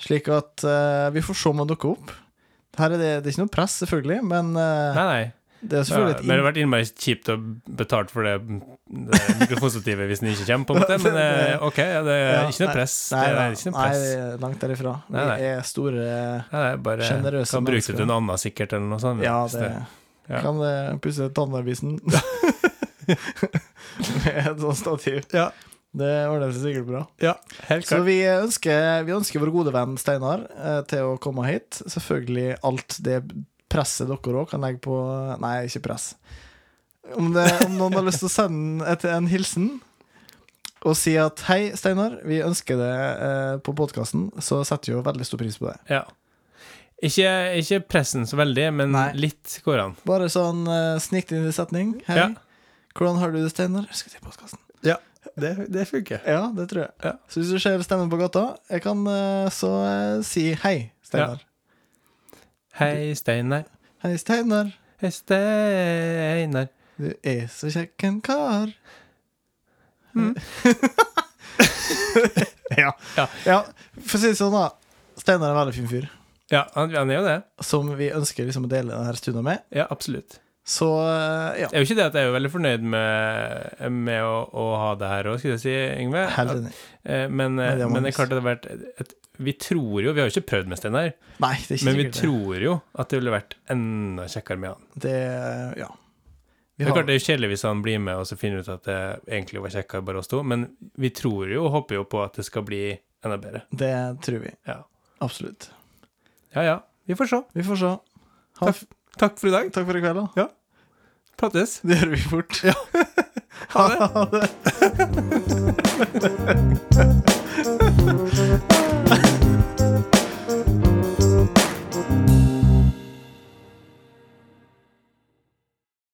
Speaker 4: slik at eh, vi får se om han dukker opp. Her er det, det er ikke noe press, selvfølgelig, men eh,
Speaker 3: Nei, nei.
Speaker 4: det er
Speaker 3: Ja, men
Speaker 4: selvfølgelig et
Speaker 3: det hadde vært innmari kjipt å betale for det, det mikrofonstativet hvis den ikke kommer, på en måte. Men eh, OK, ja, det er
Speaker 4: Ja,
Speaker 3: ikke
Speaker 4: nei,
Speaker 3: noe press.
Speaker 4: Nei,
Speaker 3: det
Speaker 4: nei,
Speaker 3: er ikke noe
Speaker 4: nei,
Speaker 3: press. Nei,
Speaker 4: langt derifra.
Speaker 3: Nei, nei.
Speaker 4: Vi er store
Speaker 3: nei, bare
Speaker 4: Generøse
Speaker 3: kan bruke det
Speaker 4: mennesker.
Speaker 3: til noe annet, sikkert, eller noe sånt.
Speaker 4: Ja,
Speaker 3: hvis
Speaker 4: det
Speaker 3: Ja.
Speaker 4: kan eh, pusse tannavisen med et sånt stativ.
Speaker 3: Ja.
Speaker 4: Det ordner seg sikkert bra.
Speaker 3: Helt
Speaker 4: Så
Speaker 3: klart.
Speaker 4: vi ønsker, vi ønsker vår gode venn Steinar eh, til å komme hit. Selvfølgelig alt det presset dere òg kan legge på Nei, ikke press. Om, det, om noen har lyst til å sende et, en hilsen og si at 'Hei, Steinar, vi ønsker det eh, på podkasten', så setter vi jo veldig stor pris på det.
Speaker 3: Ja. Ikke, ikke pressen så veldig, men
Speaker 4: Nei.
Speaker 3: litt går an.
Speaker 4: Bare sånn uh, snikt inn i setning. Hei,
Speaker 3: Ja.
Speaker 4: hvordan har du det, Steinar? Jeg skal til podkasten.
Speaker 3: Det, funker.
Speaker 4: Ja, det tror jeg.
Speaker 3: Ja.
Speaker 4: Så hvis du ser Steinar på gata, jeg kan eh, så eh, si hei, Steinar.
Speaker 3: Hei, Steinar.
Speaker 4: Hei, Steinar.
Speaker 3: Hei, Steinar.
Speaker 4: Du er så kjekk en kar.
Speaker 3: Mm.
Speaker 4: ja.
Speaker 3: Ja.
Speaker 4: ja. For å si det sånn, da. Steinar er en veldig fin fyr
Speaker 3: Ja, han, han er jo det.
Speaker 4: som vi ønsker liksom å dele denne stunda med.
Speaker 3: Ja, absolutt.
Speaker 4: Så eh, ja.
Speaker 3: Det er jo ikke det at jeg er jo veldig fornøyd med, med å, å ha det her òg, skulle jeg si, Yngve.
Speaker 4: Helt
Speaker 3: At,
Speaker 4: enig.
Speaker 3: eh, men,
Speaker 4: Nei,
Speaker 3: eh,
Speaker 4: det er
Speaker 3: men det er
Speaker 4: Magnus.
Speaker 3: klart at det har vært et, et, Vi tror jo Vi har jo ikke prøvd med Steinar,
Speaker 4: Nei, det er ikke
Speaker 3: men vi
Speaker 4: sikkert det.
Speaker 3: tror jo at det ville vært enda kjekkere med han.
Speaker 4: det. eh, Ja. Vi
Speaker 3: Det er
Speaker 4: har-
Speaker 3: klart det er jo kjedelig hvis han blir med og så finner ut at det egentlig var kjekkere bare oss to, men vi tror jo og håper jo på at det skal bli enda bedre.
Speaker 4: det tror vi.
Speaker 3: Ja.
Speaker 4: Absolutt.
Speaker 3: ja ja, vi får se.
Speaker 4: Vi får se. Ha,
Speaker 3: Takk. Takk for i dag.
Speaker 4: takk for i kveld, da.
Speaker 3: Prates.
Speaker 4: Det gjør vi fort.
Speaker 3: Ha det.
Speaker 4: Ha det.